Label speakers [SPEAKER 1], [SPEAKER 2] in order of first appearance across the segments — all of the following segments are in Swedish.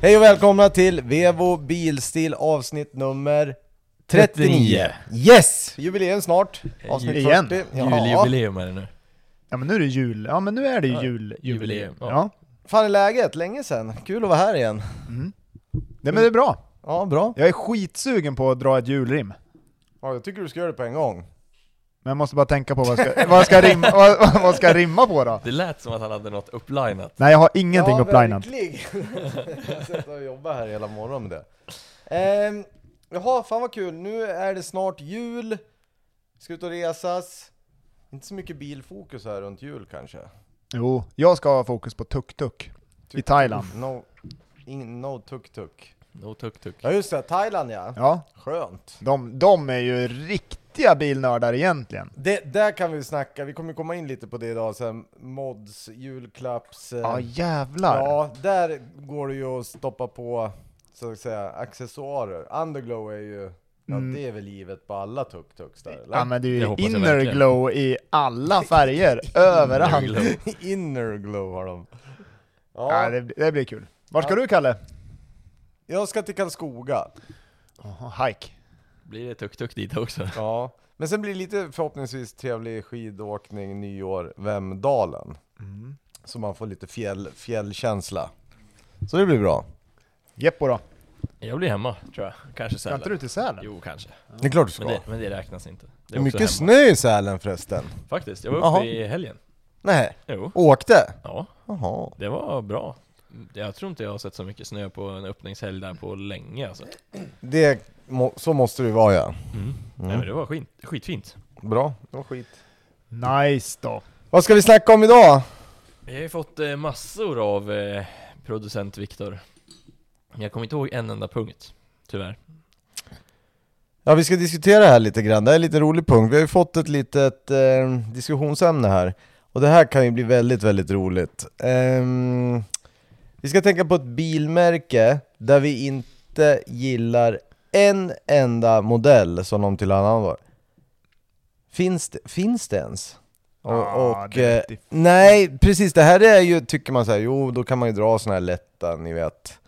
[SPEAKER 1] Hej och välkomna till Vevo Bilstil avsnitt nummer 39.
[SPEAKER 2] Yes!
[SPEAKER 1] Jubileum snart, avsnitt
[SPEAKER 2] Igen.
[SPEAKER 1] 40.
[SPEAKER 3] Juljubileum är det nu.
[SPEAKER 2] Ja men nu är det jul. Ja men nu är det ju jul.
[SPEAKER 3] Jubileum. Ja.
[SPEAKER 2] Ja.
[SPEAKER 1] Fan är läget? Länge sen. Kul att vara här igen.
[SPEAKER 2] Nej men det är bra.
[SPEAKER 1] Ja, bra.
[SPEAKER 2] Jag är skitsugen på att dra ett julrim.
[SPEAKER 1] Ja, jag tycker du ska göra det på en gång.
[SPEAKER 2] Men jag måste bara tänka på vad jag ska, vad jag ska, rimma, vad, vad ska jag rimma på då?
[SPEAKER 3] Det lät som att han hade något upplinat.
[SPEAKER 2] Nej jag har ingenting
[SPEAKER 1] ja,
[SPEAKER 2] upplinat.
[SPEAKER 1] verkligen. jag har sett att jobba här hela morgonen med det. Ehm, jaha, fan vad kul. Nu är det snart jul. Ska ut och resas. Inte så mycket bilfokus här runt jul kanske.
[SPEAKER 2] Jo, jag ska ha fokus på tuk-tuk. I Thailand.
[SPEAKER 1] No, in, no tuk-tuk.
[SPEAKER 3] No tuk-tuk.
[SPEAKER 1] Ja just det, Thailand ja.
[SPEAKER 2] Ja,
[SPEAKER 1] Skönt.
[SPEAKER 2] de, de är ju riktiga bilnördar egentligen.
[SPEAKER 1] Det, där kan vi snacka, vi kommer komma in lite på det idag sen, mods, julklapps... eh,
[SPEAKER 2] Ja jävlar.
[SPEAKER 1] ja, där går det ju att stoppa på, så att säga, accessoarer. Underglow är ju, ja
[SPEAKER 2] Mm.
[SPEAKER 1] det är väl livet på alla tuk-tuks där eller?
[SPEAKER 2] Ja men det är
[SPEAKER 3] Det
[SPEAKER 2] ju
[SPEAKER 3] hoppas jag
[SPEAKER 2] inner
[SPEAKER 3] verkligen.
[SPEAKER 2] glow i alla färger, överallt.
[SPEAKER 3] Innerglow.
[SPEAKER 1] Innerglow har de. Ja,
[SPEAKER 2] Ja, det, det blir kul. Vart ska du Kalle?
[SPEAKER 1] jag ska till Karlskoga.
[SPEAKER 2] Oh, hike.
[SPEAKER 3] Blir det tuk-tuk dit också?
[SPEAKER 1] Ja. Men sen blir det lite förhoppningsvis trevlig skidåkning, nyår, Vemdalen.
[SPEAKER 3] Mm.
[SPEAKER 1] Så man får lite fjäll, fjällkänsla. Så det blir bra.
[SPEAKER 2] Jeppo då?
[SPEAKER 3] Jag blir hemma, tror jag. Kanske
[SPEAKER 2] Ska inte du
[SPEAKER 3] Sälen.
[SPEAKER 2] till Sälen?
[SPEAKER 3] Jo, kanske.
[SPEAKER 1] Det är klart du ska.
[SPEAKER 3] Men det, men det räknas inte. Det
[SPEAKER 1] Det
[SPEAKER 3] är
[SPEAKER 1] är
[SPEAKER 3] också
[SPEAKER 1] mycket
[SPEAKER 3] hemma.
[SPEAKER 1] snö i Sälen förresten.
[SPEAKER 3] Faktiskt, jag var uppe
[SPEAKER 1] Jaha.
[SPEAKER 3] i helgen.
[SPEAKER 1] Nej,
[SPEAKER 3] Jo.
[SPEAKER 1] åkte?
[SPEAKER 3] Ja,
[SPEAKER 1] Jaha.
[SPEAKER 3] det var bra. Jag tror inte jag har sett så mycket snö på en öppningshelg där på länge alltså.
[SPEAKER 1] Det, må, så måste det ju vara ja.
[SPEAKER 3] Nej men det var skit, skitfint.
[SPEAKER 1] Bra. Det var skit.
[SPEAKER 2] Nice då.
[SPEAKER 1] Vad ska vi snacka om idag?
[SPEAKER 3] Jag har ju fått eh, massor av eh, producent Viktor. Jag kommer inte ihåg en enda punkt, tyvärr.
[SPEAKER 1] Ja, vi ska diskutera det här lite grann. Det här är en lite rolig punkt. Vi har ju fått ett litet eh, diskussionsämne här. Och det här kan ju bli väldigt, väldigt roligt. Ehm, vi ska tänka på ett bilmärke där vi inte gillar en enda modell som de tillhandahåller. Finns det, finns det ens? Och,
[SPEAKER 2] Ja,
[SPEAKER 1] och,
[SPEAKER 2] Ah, det är
[SPEAKER 1] eh,
[SPEAKER 2] riktigt.
[SPEAKER 1] nej, precis. Det här är ju, tycker man så här, jo då kan man ju dra såna här lätta, ni vet.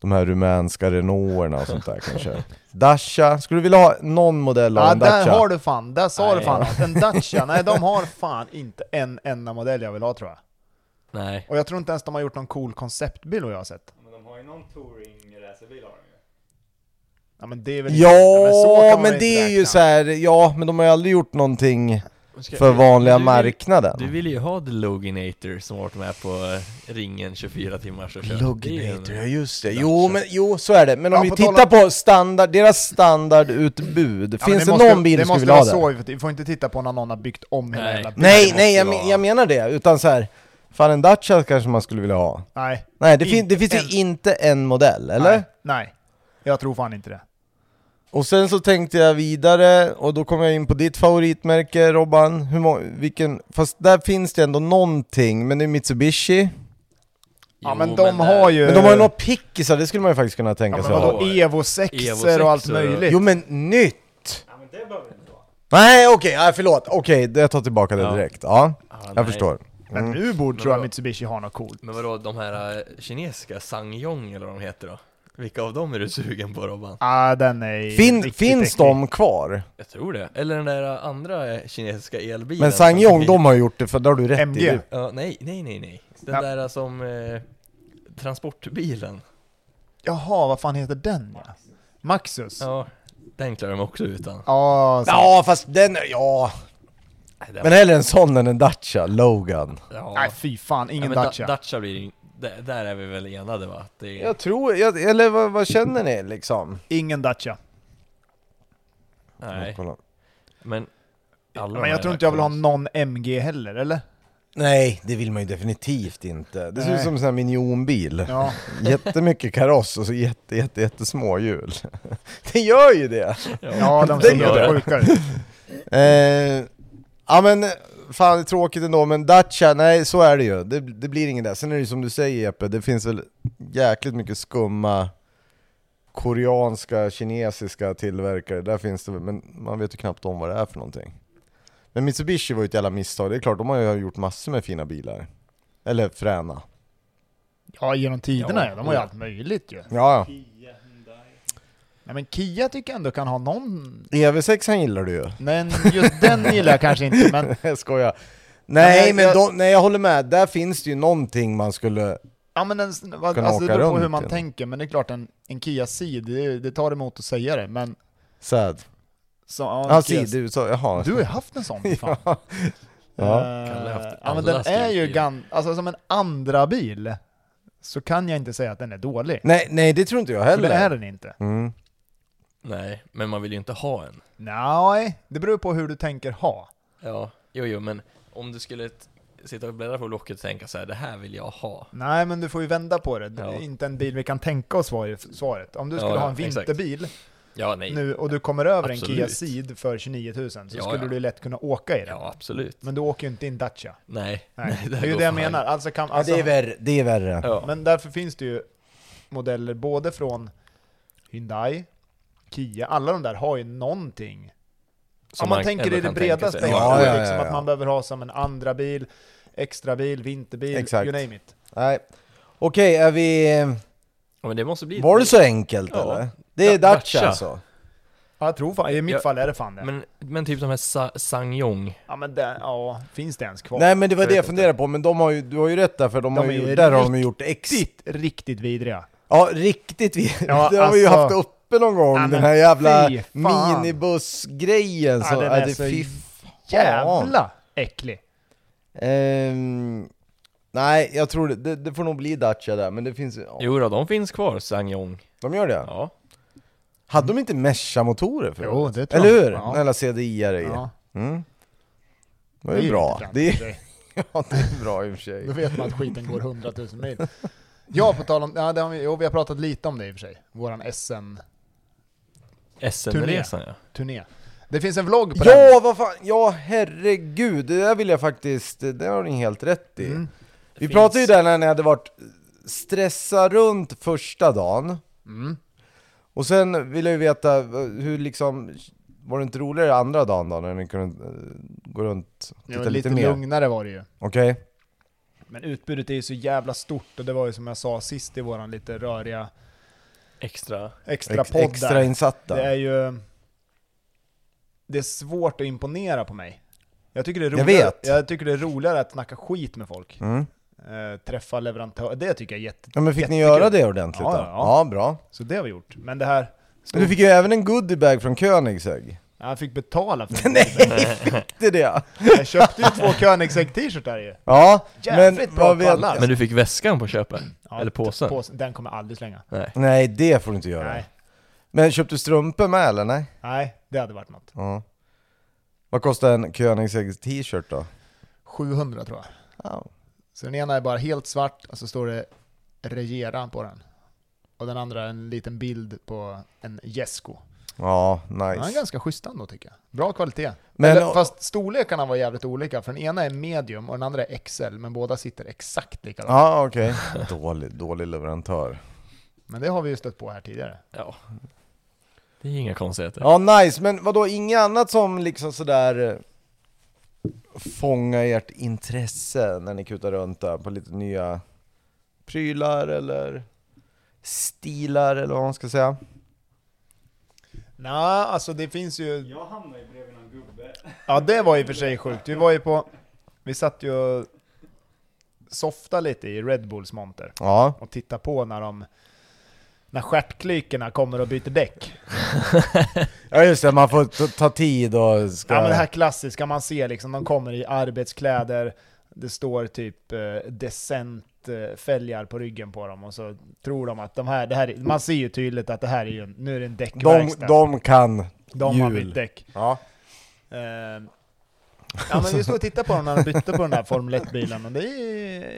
[SPEAKER 1] De här rumänska Renaulterna och sånt där kanske. Dacia, skulle du vilja ha någon modell av
[SPEAKER 2] Ja,
[SPEAKER 1] en
[SPEAKER 2] där
[SPEAKER 1] Dacia?
[SPEAKER 2] har du fan, där sa du
[SPEAKER 3] Nej.
[SPEAKER 2] fan att en Dacia, nej de har fan inte en enda modell jag vill ha tror jag.
[SPEAKER 3] Nej.
[SPEAKER 2] Och jag tror inte ens de har gjort någon cool konceptbil vad jag har sett.
[SPEAKER 4] Men de har ju någon touring-racerbil har de ju.
[SPEAKER 2] Ja men det är väl
[SPEAKER 1] Ja,
[SPEAKER 2] men så kan man
[SPEAKER 1] men,
[SPEAKER 2] väl
[SPEAKER 1] det
[SPEAKER 2] inte
[SPEAKER 1] är ju
[SPEAKER 2] räkna.
[SPEAKER 1] så här, ja, men de har ju aldrig gjort någonting
[SPEAKER 3] Ska-
[SPEAKER 1] för vanliga
[SPEAKER 3] Du-
[SPEAKER 1] marknaden.
[SPEAKER 3] Du vill ju ha The Loginator som har varit med på eh, ringen 24 timmar så kör.
[SPEAKER 1] Lugnator,
[SPEAKER 3] Det är
[SPEAKER 1] ja
[SPEAKER 3] en-
[SPEAKER 1] just det. Jo, men, jo, så är det. Men om
[SPEAKER 2] Ja,
[SPEAKER 1] vi
[SPEAKER 2] på
[SPEAKER 1] tittar
[SPEAKER 2] tal
[SPEAKER 1] på standard, deras standardutbud,
[SPEAKER 2] Ja, men
[SPEAKER 1] finns det,
[SPEAKER 2] måste-
[SPEAKER 1] någon bil du skulle vilja
[SPEAKER 2] Det
[SPEAKER 1] ha
[SPEAKER 2] måste
[SPEAKER 1] där?
[SPEAKER 2] vara så, vi får inte titta på när någon har byggt om hela
[SPEAKER 3] Nej.
[SPEAKER 2] jävla bilen.
[SPEAKER 1] Nej,
[SPEAKER 2] Det
[SPEAKER 1] nej, jag,
[SPEAKER 2] måste
[SPEAKER 1] men-
[SPEAKER 2] ju
[SPEAKER 1] jag
[SPEAKER 2] vara-
[SPEAKER 1] menar det. Utan så här, fan en Dacia kanske man skulle vilja ha.
[SPEAKER 2] Nej.
[SPEAKER 1] Nej, det, fin-
[SPEAKER 2] Inte
[SPEAKER 1] det finns
[SPEAKER 2] en-
[SPEAKER 1] ju inte en modell, eller?
[SPEAKER 2] Nej, nej. Jag tror fan inte det.
[SPEAKER 1] Och sen så tänkte jag vidare, och då kom jag in på ditt favoritmärke Robban. Hur må- vilken, fast där finns det ändå någonting, men det är Mitsubishi.
[SPEAKER 2] Ja
[SPEAKER 3] Jo, eh,
[SPEAKER 2] men de
[SPEAKER 3] där-
[SPEAKER 2] har ju...
[SPEAKER 1] Men de har ju några pickisar, det skulle man ju faktiskt kunna
[SPEAKER 2] Ja
[SPEAKER 1] tänka
[SPEAKER 2] men
[SPEAKER 1] sig ha.
[SPEAKER 2] vadå, Evo
[SPEAKER 3] Evo
[SPEAKER 2] 6
[SPEAKER 3] sexor
[SPEAKER 2] och allt
[SPEAKER 3] och-
[SPEAKER 2] möjligt.
[SPEAKER 1] Jo men nytt!
[SPEAKER 4] Ja men det behöver det inte vara.
[SPEAKER 1] Nej okej, nej, förlåt. Okej, jag tar tillbaka det
[SPEAKER 3] Ja.
[SPEAKER 1] direkt. Ja,
[SPEAKER 3] Ah,
[SPEAKER 1] jag
[SPEAKER 3] nej.
[SPEAKER 1] förstår.
[SPEAKER 2] Men nu borde tror jag
[SPEAKER 3] vadå?
[SPEAKER 2] Mitsubishi har något coolt.
[SPEAKER 3] Men vadå, de här eh, kinesiska Sangyong eller vad de heter då? Vilka av dem är du sugen på Robban?
[SPEAKER 2] Ah, den är
[SPEAKER 1] Fin-
[SPEAKER 2] riktigt
[SPEAKER 1] finns
[SPEAKER 2] äcklig.
[SPEAKER 1] de kvar?
[SPEAKER 3] Jag tror det. Eller den där eh, andra eh, kinesiska elbilen.
[SPEAKER 1] Men
[SPEAKER 3] som
[SPEAKER 1] Sangyong,
[SPEAKER 3] fick-
[SPEAKER 1] de har gjort det, för det har du rätt
[SPEAKER 2] MG.
[SPEAKER 1] i.
[SPEAKER 3] Ja, nej, nej, nej, nej. Den
[SPEAKER 2] Ja.
[SPEAKER 3] där eh, som... Eh, transportbilen.
[SPEAKER 2] Jaha, vad fan heter den ja? Maxus? Ja,
[SPEAKER 3] Ja, den klarar de också utan.
[SPEAKER 2] så-
[SPEAKER 1] Ja, fast den, ja.
[SPEAKER 3] Nej, den-
[SPEAKER 1] Men hellre en sån än en Dacia, Logan.
[SPEAKER 3] ja.
[SPEAKER 2] Nej fy fan,
[SPEAKER 3] Ja,
[SPEAKER 2] ingen
[SPEAKER 3] men da-
[SPEAKER 2] Dacia.
[SPEAKER 3] Dacia blir ju- där, där är vi väl enade va? Att Det är...
[SPEAKER 1] Jag tror, jag, eller vad, vad känner ni liksom?
[SPEAKER 2] ingen Dacia.
[SPEAKER 3] Nej,
[SPEAKER 1] Kolla.
[SPEAKER 3] men... alla de
[SPEAKER 2] men
[SPEAKER 3] här
[SPEAKER 2] jag tror inte jag vill ha
[SPEAKER 3] kons-
[SPEAKER 2] någon MG heller, eller?
[SPEAKER 1] Nej, det vill man ju definitivt inte. Det ser ut
[SPEAKER 2] Nej.
[SPEAKER 1] som en sån här minionbil.
[SPEAKER 2] Ja.
[SPEAKER 1] Jättemycket kaross och så jätte, jätte, jättesmå hjul. Det gör ju det!
[SPEAKER 2] Ja, de ser
[SPEAKER 1] Det gör
[SPEAKER 2] helt sjuka ut.
[SPEAKER 1] Eh, ja men, fan det är tråkigt ändå, men Dacia, nej så är det ju. Det, det blir ingen där. Sen är det ju som du säger Jeppe, det finns väl jäkligt mycket skumma koreanska, kinesiska tillverkare. Där finns det väl, men man vet ju knappt om vad det är för någonting. Men Mitsubishi var ju ett jävla misstag, det är klart de har ju gjort massor med fina bilar. Eller fräna.
[SPEAKER 2] Ja, genom tiderna
[SPEAKER 3] Ja,
[SPEAKER 2] ja. De har ju
[SPEAKER 3] ja.
[SPEAKER 2] allt möjligt ju.
[SPEAKER 1] Ja,
[SPEAKER 4] Kia, Hyundai.
[SPEAKER 2] Nej men Kia tycker jag ändå kan ha någon...
[SPEAKER 1] ja. EV6 an gillar du ju.
[SPEAKER 2] Men just den gillar jag kanske inte, men
[SPEAKER 1] Jag skojar. Nej,
[SPEAKER 2] Nej,
[SPEAKER 1] men
[SPEAKER 2] jag-
[SPEAKER 1] de, nej, jag håller med. Där finns det ju någonting man skulle...
[SPEAKER 2] Ja men den, vad-
[SPEAKER 1] Kunna
[SPEAKER 2] alltså det
[SPEAKER 1] åka
[SPEAKER 2] beror på
[SPEAKER 1] runt
[SPEAKER 2] hur man
[SPEAKER 1] igen.
[SPEAKER 2] tänker, men det är klart en, en Kia Ceed, det, det tar emot att säga det, men...
[SPEAKER 1] Sad.
[SPEAKER 2] Så, ja, en
[SPEAKER 1] Ja,
[SPEAKER 2] Kia-
[SPEAKER 1] si, du sa... Jaha.
[SPEAKER 2] Du har ju haft en sån för fan.
[SPEAKER 1] ja. ja.
[SPEAKER 2] Eh,
[SPEAKER 3] Kalle har haft
[SPEAKER 2] ja men
[SPEAKER 3] alla
[SPEAKER 2] den är ju
[SPEAKER 3] skrotbilar.
[SPEAKER 2] gan, alltså som en andra bil så kan jag inte säga att den är dålig.
[SPEAKER 1] Nej, nej, det tror inte jag
[SPEAKER 2] För
[SPEAKER 1] heller.
[SPEAKER 2] det är den inte.
[SPEAKER 1] Mm.
[SPEAKER 3] Nej, men man vill ju inte ha en.
[SPEAKER 2] Nej, det beror på hur du tänker ha.
[SPEAKER 3] Ja, jo, jo, men om du skulle t- sitta och bläddra på locket och tänka så här, det här vill jag ha.
[SPEAKER 2] Nej men du får ju vända på det, det är
[SPEAKER 3] Ja.
[SPEAKER 2] inte en bil vi kan tänka oss var ju f- svaret. Om du
[SPEAKER 3] Ja,
[SPEAKER 2] skulle ha en
[SPEAKER 3] ja, exakt.
[SPEAKER 2] vinterbil
[SPEAKER 3] Ja, nej.
[SPEAKER 2] nu och du kommer över en
[SPEAKER 3] Absolut.
[SPEAKER 2] Kia Ceed för 29 000 så
[SPEAKER 3] Ja,
[SPEAKER 2] skulle
[SPEAKER 3] ja.
[SPEAKER 2] du lätt kunna åka i den.
[SPEAKER 3] Ja, absolut.
[SPEAKER 2] Men du åker ju inte i en Dacia.
[SPEAKER 3] Nej.
[SPEAKER 2] Nej,
[SPEAKER 3] det
[SPEAKER 2] det
[SPEAKER 3] här
[SPEAKER 2] är ju
[SPEAKER 3] går
[SPEAKER 2] det jag
[SPEAKER 3] fan.
[SPEAKER 2] menar. Alltså kan,
[SPEAKER 1] Ja,
[SPEAKER 2] alltså,
[SPEAKER 1] det är värre. Det är värre.
[SPEAKER 3] Ja.
[SPEAKER 2] men därför finns det ju modeller både från Hyundai, Kia, alla de där har ju någonting. Om man, tänker
[SPEAKER 3] ändå
[SPEAKER 2] i det
[SPEAKER 3] kan tänka
[SPEAKER 2] breda
[SPEAKER 3] sig.
[SPEAKER 2] spektrat,
[SPEAKER 1] Ja, ja, ja,
[SPEAKER 2] liksom
[SPEAKER 1] ja.
[SPEAKER 2] att man behöver ha som en andra bil, extra bil, vinterbil,
[SPEAKER 1] Exakt.
[SPEAKER 2] you name it.
[SPEAKER 1] Nej. Okej, är vi...
[SPEAKER 3] Ja, men det måste bli...
[SPEAKER 1] Var det så enkelt
[SPEAKER 3] Ja.
[SPEAKER 1] eller? Det är
[SPEAKER 3] Ja,
[SPEAKER 1] Dacia
[SPEAKER 3] Dacia.
[SPEAKER 1] alltså?
[SPEAKER 2] Ja, jag tror fan, i mitt
[SPEAKER 3] Ja,
[SPEAKER 2] fall är det fan det.
[SPEAKER 3] Men, men typ de här Sa- Sangyong.
[SPEAKER 2] ja men det, ja, finns det ens kvar?
[SPEAKER 1] Nej men det var
[SPEAKER 3] Jag
[SPEAKER 1] det
[SPEAKER 3] vet
[SPEAKER 1] jag funderade på, men de har ju, du har ju rätt där för de,
[SPEAKER 2] De
[SPEAKER 1] har
[SPEAKER 2] är
[SPEAKER 1] ju,
[SPEAKER 2] ju
[SPEAKER 1] där har de ju gjort ex...
[SPEAKER 2] Riktigt, riktigt vidriga.
[SPEAKER 1] Ja riktigt, vi,
[SPEAKER 2] Ja,
[SPEAKER 1] det har vi ju
[SPEAKER 2] alltså.
[SPEAKER 1] haft uppe någon gång,
[SPEAKER 2] Ja, men
[SPEAKER 1] den här jävla
[SPEAKER 2] fy fan.
[SPEAKER 1] minibussgrejen
[SPEAKER 2] Ja,
[SPEAKER 1] så,
[SPEAKER 2] den
[SPEAKER 1] ja,
[SPEAKER 2] är
[SPEAKER 1] det
[SPEAKER 2] så
[SPEAKER 1] fy fan.
[SPEAKER 2] Jävla äcklig.
[SPEAKER 1] Ehm, nej jag tror det, det, det får nog bli Dacia där, men det finns ja,
[SPEAKER 3] Jo då, de finns kvar, Sangyong.
[SPEAKER 1] de gör det?
[SPEAKER 3] Ja.
[SPEAKER 1] Hade de inte Mesha-motorer för
[SPEAKER 2] Jo, det tror
[SPEAKER 1] Eller
[SPEAKER 2] jag.
[SPEAKER 1] hur?
[SPEAKER 2] Ja.
[SPEAKER 1] Eller CDI-are i.
[SPEAKER 2] Ja,
[SPEAKER 1] Mm. Det är ju
[SPEAKER 2] ju
[SPEAKER 1] bra,
[SPEAKER 2] inte fränt
[SPEAKER 1] det
[SPEAKER 2] i
[SPEAKER 1] är,
[SPEAKER 2] sig.
[SPEAKER 1] ja, det är bra i och för sig
[SPEAKER 2] Då vet man att skiten går 100 000 mil. Ja, på tal om, ja, det har vi, jo, vi har pratat lite om det i och för sig. Våran SM-turné.
[SPEAKER 3] SM-resan ja.
[SPEAKER 2] Det finns en vlogg på
[SPEAKER 1] Ja, vad fan, ja herregud, det där vill jag faktiskt, det där har ni helt rätt i.
[SPEAKER 2] den. Mm.
[SPEAKER 1] Vi pratade ju där när ni hade varit stressa runt första dagen,
[SPEAKER 2] Mm.
[SPEAKER 1] och sen vill jag ju veta eh, hur liksom, var det inte roligare andra dagen då när ni kunde eh, gå runt och
[SPEAKER 2] Det
[SPEAKER 1] titta
[SPEAKER 2] var
[SPEAKER 1] lite,
[SPEAKER 2] lite
[SPEAKER 1] mer?
[SPEAKER 2] lugnare var det ju.
[SPEAKER 1] Okej?
[SPEAKER 2] Men utbudet är ju så jävla stort och det var ju som jag sa sist i våran lite röriga
[SPEAKER 3] Extra.
[SPEAKER 2] extra
[SPEAKER 1] Ex-
[SPEAKER 2] podd där.
[SPEAKER 1] extra insatta.
[SPEAKER 2] Det är ju... Det är svårt att imponera på mig. Jag tycker det är
[SPEAKER 1] Jag
[SPEAKER 2] roligare, jag
[SPEAKER 1] vet.
[SPEAKER 2] tycker det är roligare att snacka skit med folk.
[SPEAKER 1] Mm.
[SPEAKER 2] Eh, träffa leverantörer, det tycker jag är jätte...
[SPEAKER 1] Ja men fick ni
[SPEAKER 2] Jättekul.
[SPEAKER 1] göra det ordentligt
[SPEAKER 2] Ja,
[SPEAKER 1] då?
[SPEAKER 2] ja, ja.
[SPEAKER 1] ja bra.
[SPEAKER 2] Så det har vi gjort. Men det här...
[SPEAKER 1] Men du fick ju även en goodiebag från Koenigsegg.
[SPEAKER 2] Han fick betala för det.
[SPEAKER 1] Nej, fick du det?
[SPEAKER 2] Jag köpte ju två Koenigsegg t-shirtar ju.
[SPEAKER 1] Ja,
[SPEAKER 2] Jävligt
[SPEAKER 1] men
[SPEAKER 2] bra
[SPEAKER 1] vad vet...
[SPEAKER 2] pallar.
[SPEAKER 3] Men du fick väskan på köpet?
[SPEAKER 2] Ja,
[SPEAKER 3] Eller påsen?
[SPEAKER 2] påsen. Den kommer jag aldrig slänga.
[SPEAKER 3] Nej.
[SPEAKER 1] Nej, det får du inte göra.
[SPEAKER 2] Nej,
[SPEAKER 1] Men köpte du strumpor med eller? Nej?
[SPEAKER 2] nej, det hade varit något.
[SPEAKER 1] Ja. Vad kostar en Koenigsegg t-shirt då?
[SPEAKER 2] 700 tror jag.
[SPEAKER 1] Ja.
[SPEAKER 2] Så den ena är bara helt svart och så står det regera på den. Och den andra är en liten bild på en Jesko.
[SPEAKER 1] Ja,
[SPEAKER 2] Den är
[SPEAKER 1] nice.
[SPEAKER 2] ganska schysst ändå tycker jag. Bra kvalitet.
[SPEAKER 1] Men-
[SPEAKER 2] Eller, fast storlekarna var jävligt olika, för den ena är medium och den andra är XL, men båda sitter exakt likadant.
[SPEAKER 1] Ja, okej. Dålig, dålig leverantör.
[SPEAKER 2] Men det har vi ju stött på här tidigare.
[SPEAKER 3] Ja. Det är inga konstigheter.
[SPEAKER 1] Ja, nice. Men vadå, inget annat som liksom sådär eh, fångar ert intresse när ni kutar runt där på lite nya prylar eller stilar eller vad man ska säga?
[SPEAKER 2] Nej, alltså det finns ju...
[SPEAKER 4] Jag hamnade ju bredvid någon gubbe.
[SPEAKER 2] Ja, det var i och för sig sjukt. Vi var ju på... Vi satt ju och softa lite i Red Bulls monter
[SPEAKER 1] Ja.
[SPEAKER 2] och tittade på när de... När stjärtklykorna kommer och byter däck.
[SPEAKER 1] Ja just det, man får ta- ta tid och ska...
[SPEAKER 2] Ja men det här klassiska man ser liksom, de kommer i arbetskläder, det står typ eh, decent eh, fälgar på ryggen på dem och så tror de att de här, det här, är- man ser ju tydligt att det här är ju, en- nu är det en
[SPEAKER 1] de,
[SPEAKER 2] däckverkstad.
[SPEAKER 1] de kan...
[SPEAKER 2] de har
[SPEAKER 1] hjul.
[SPEAKER 2] bytt däck.
[SPEAKER 1] Ja.
[SPEAKER 2] Eh, ja men vi stod och tittade på dem när de bytte på den där Formel 1-bilen och det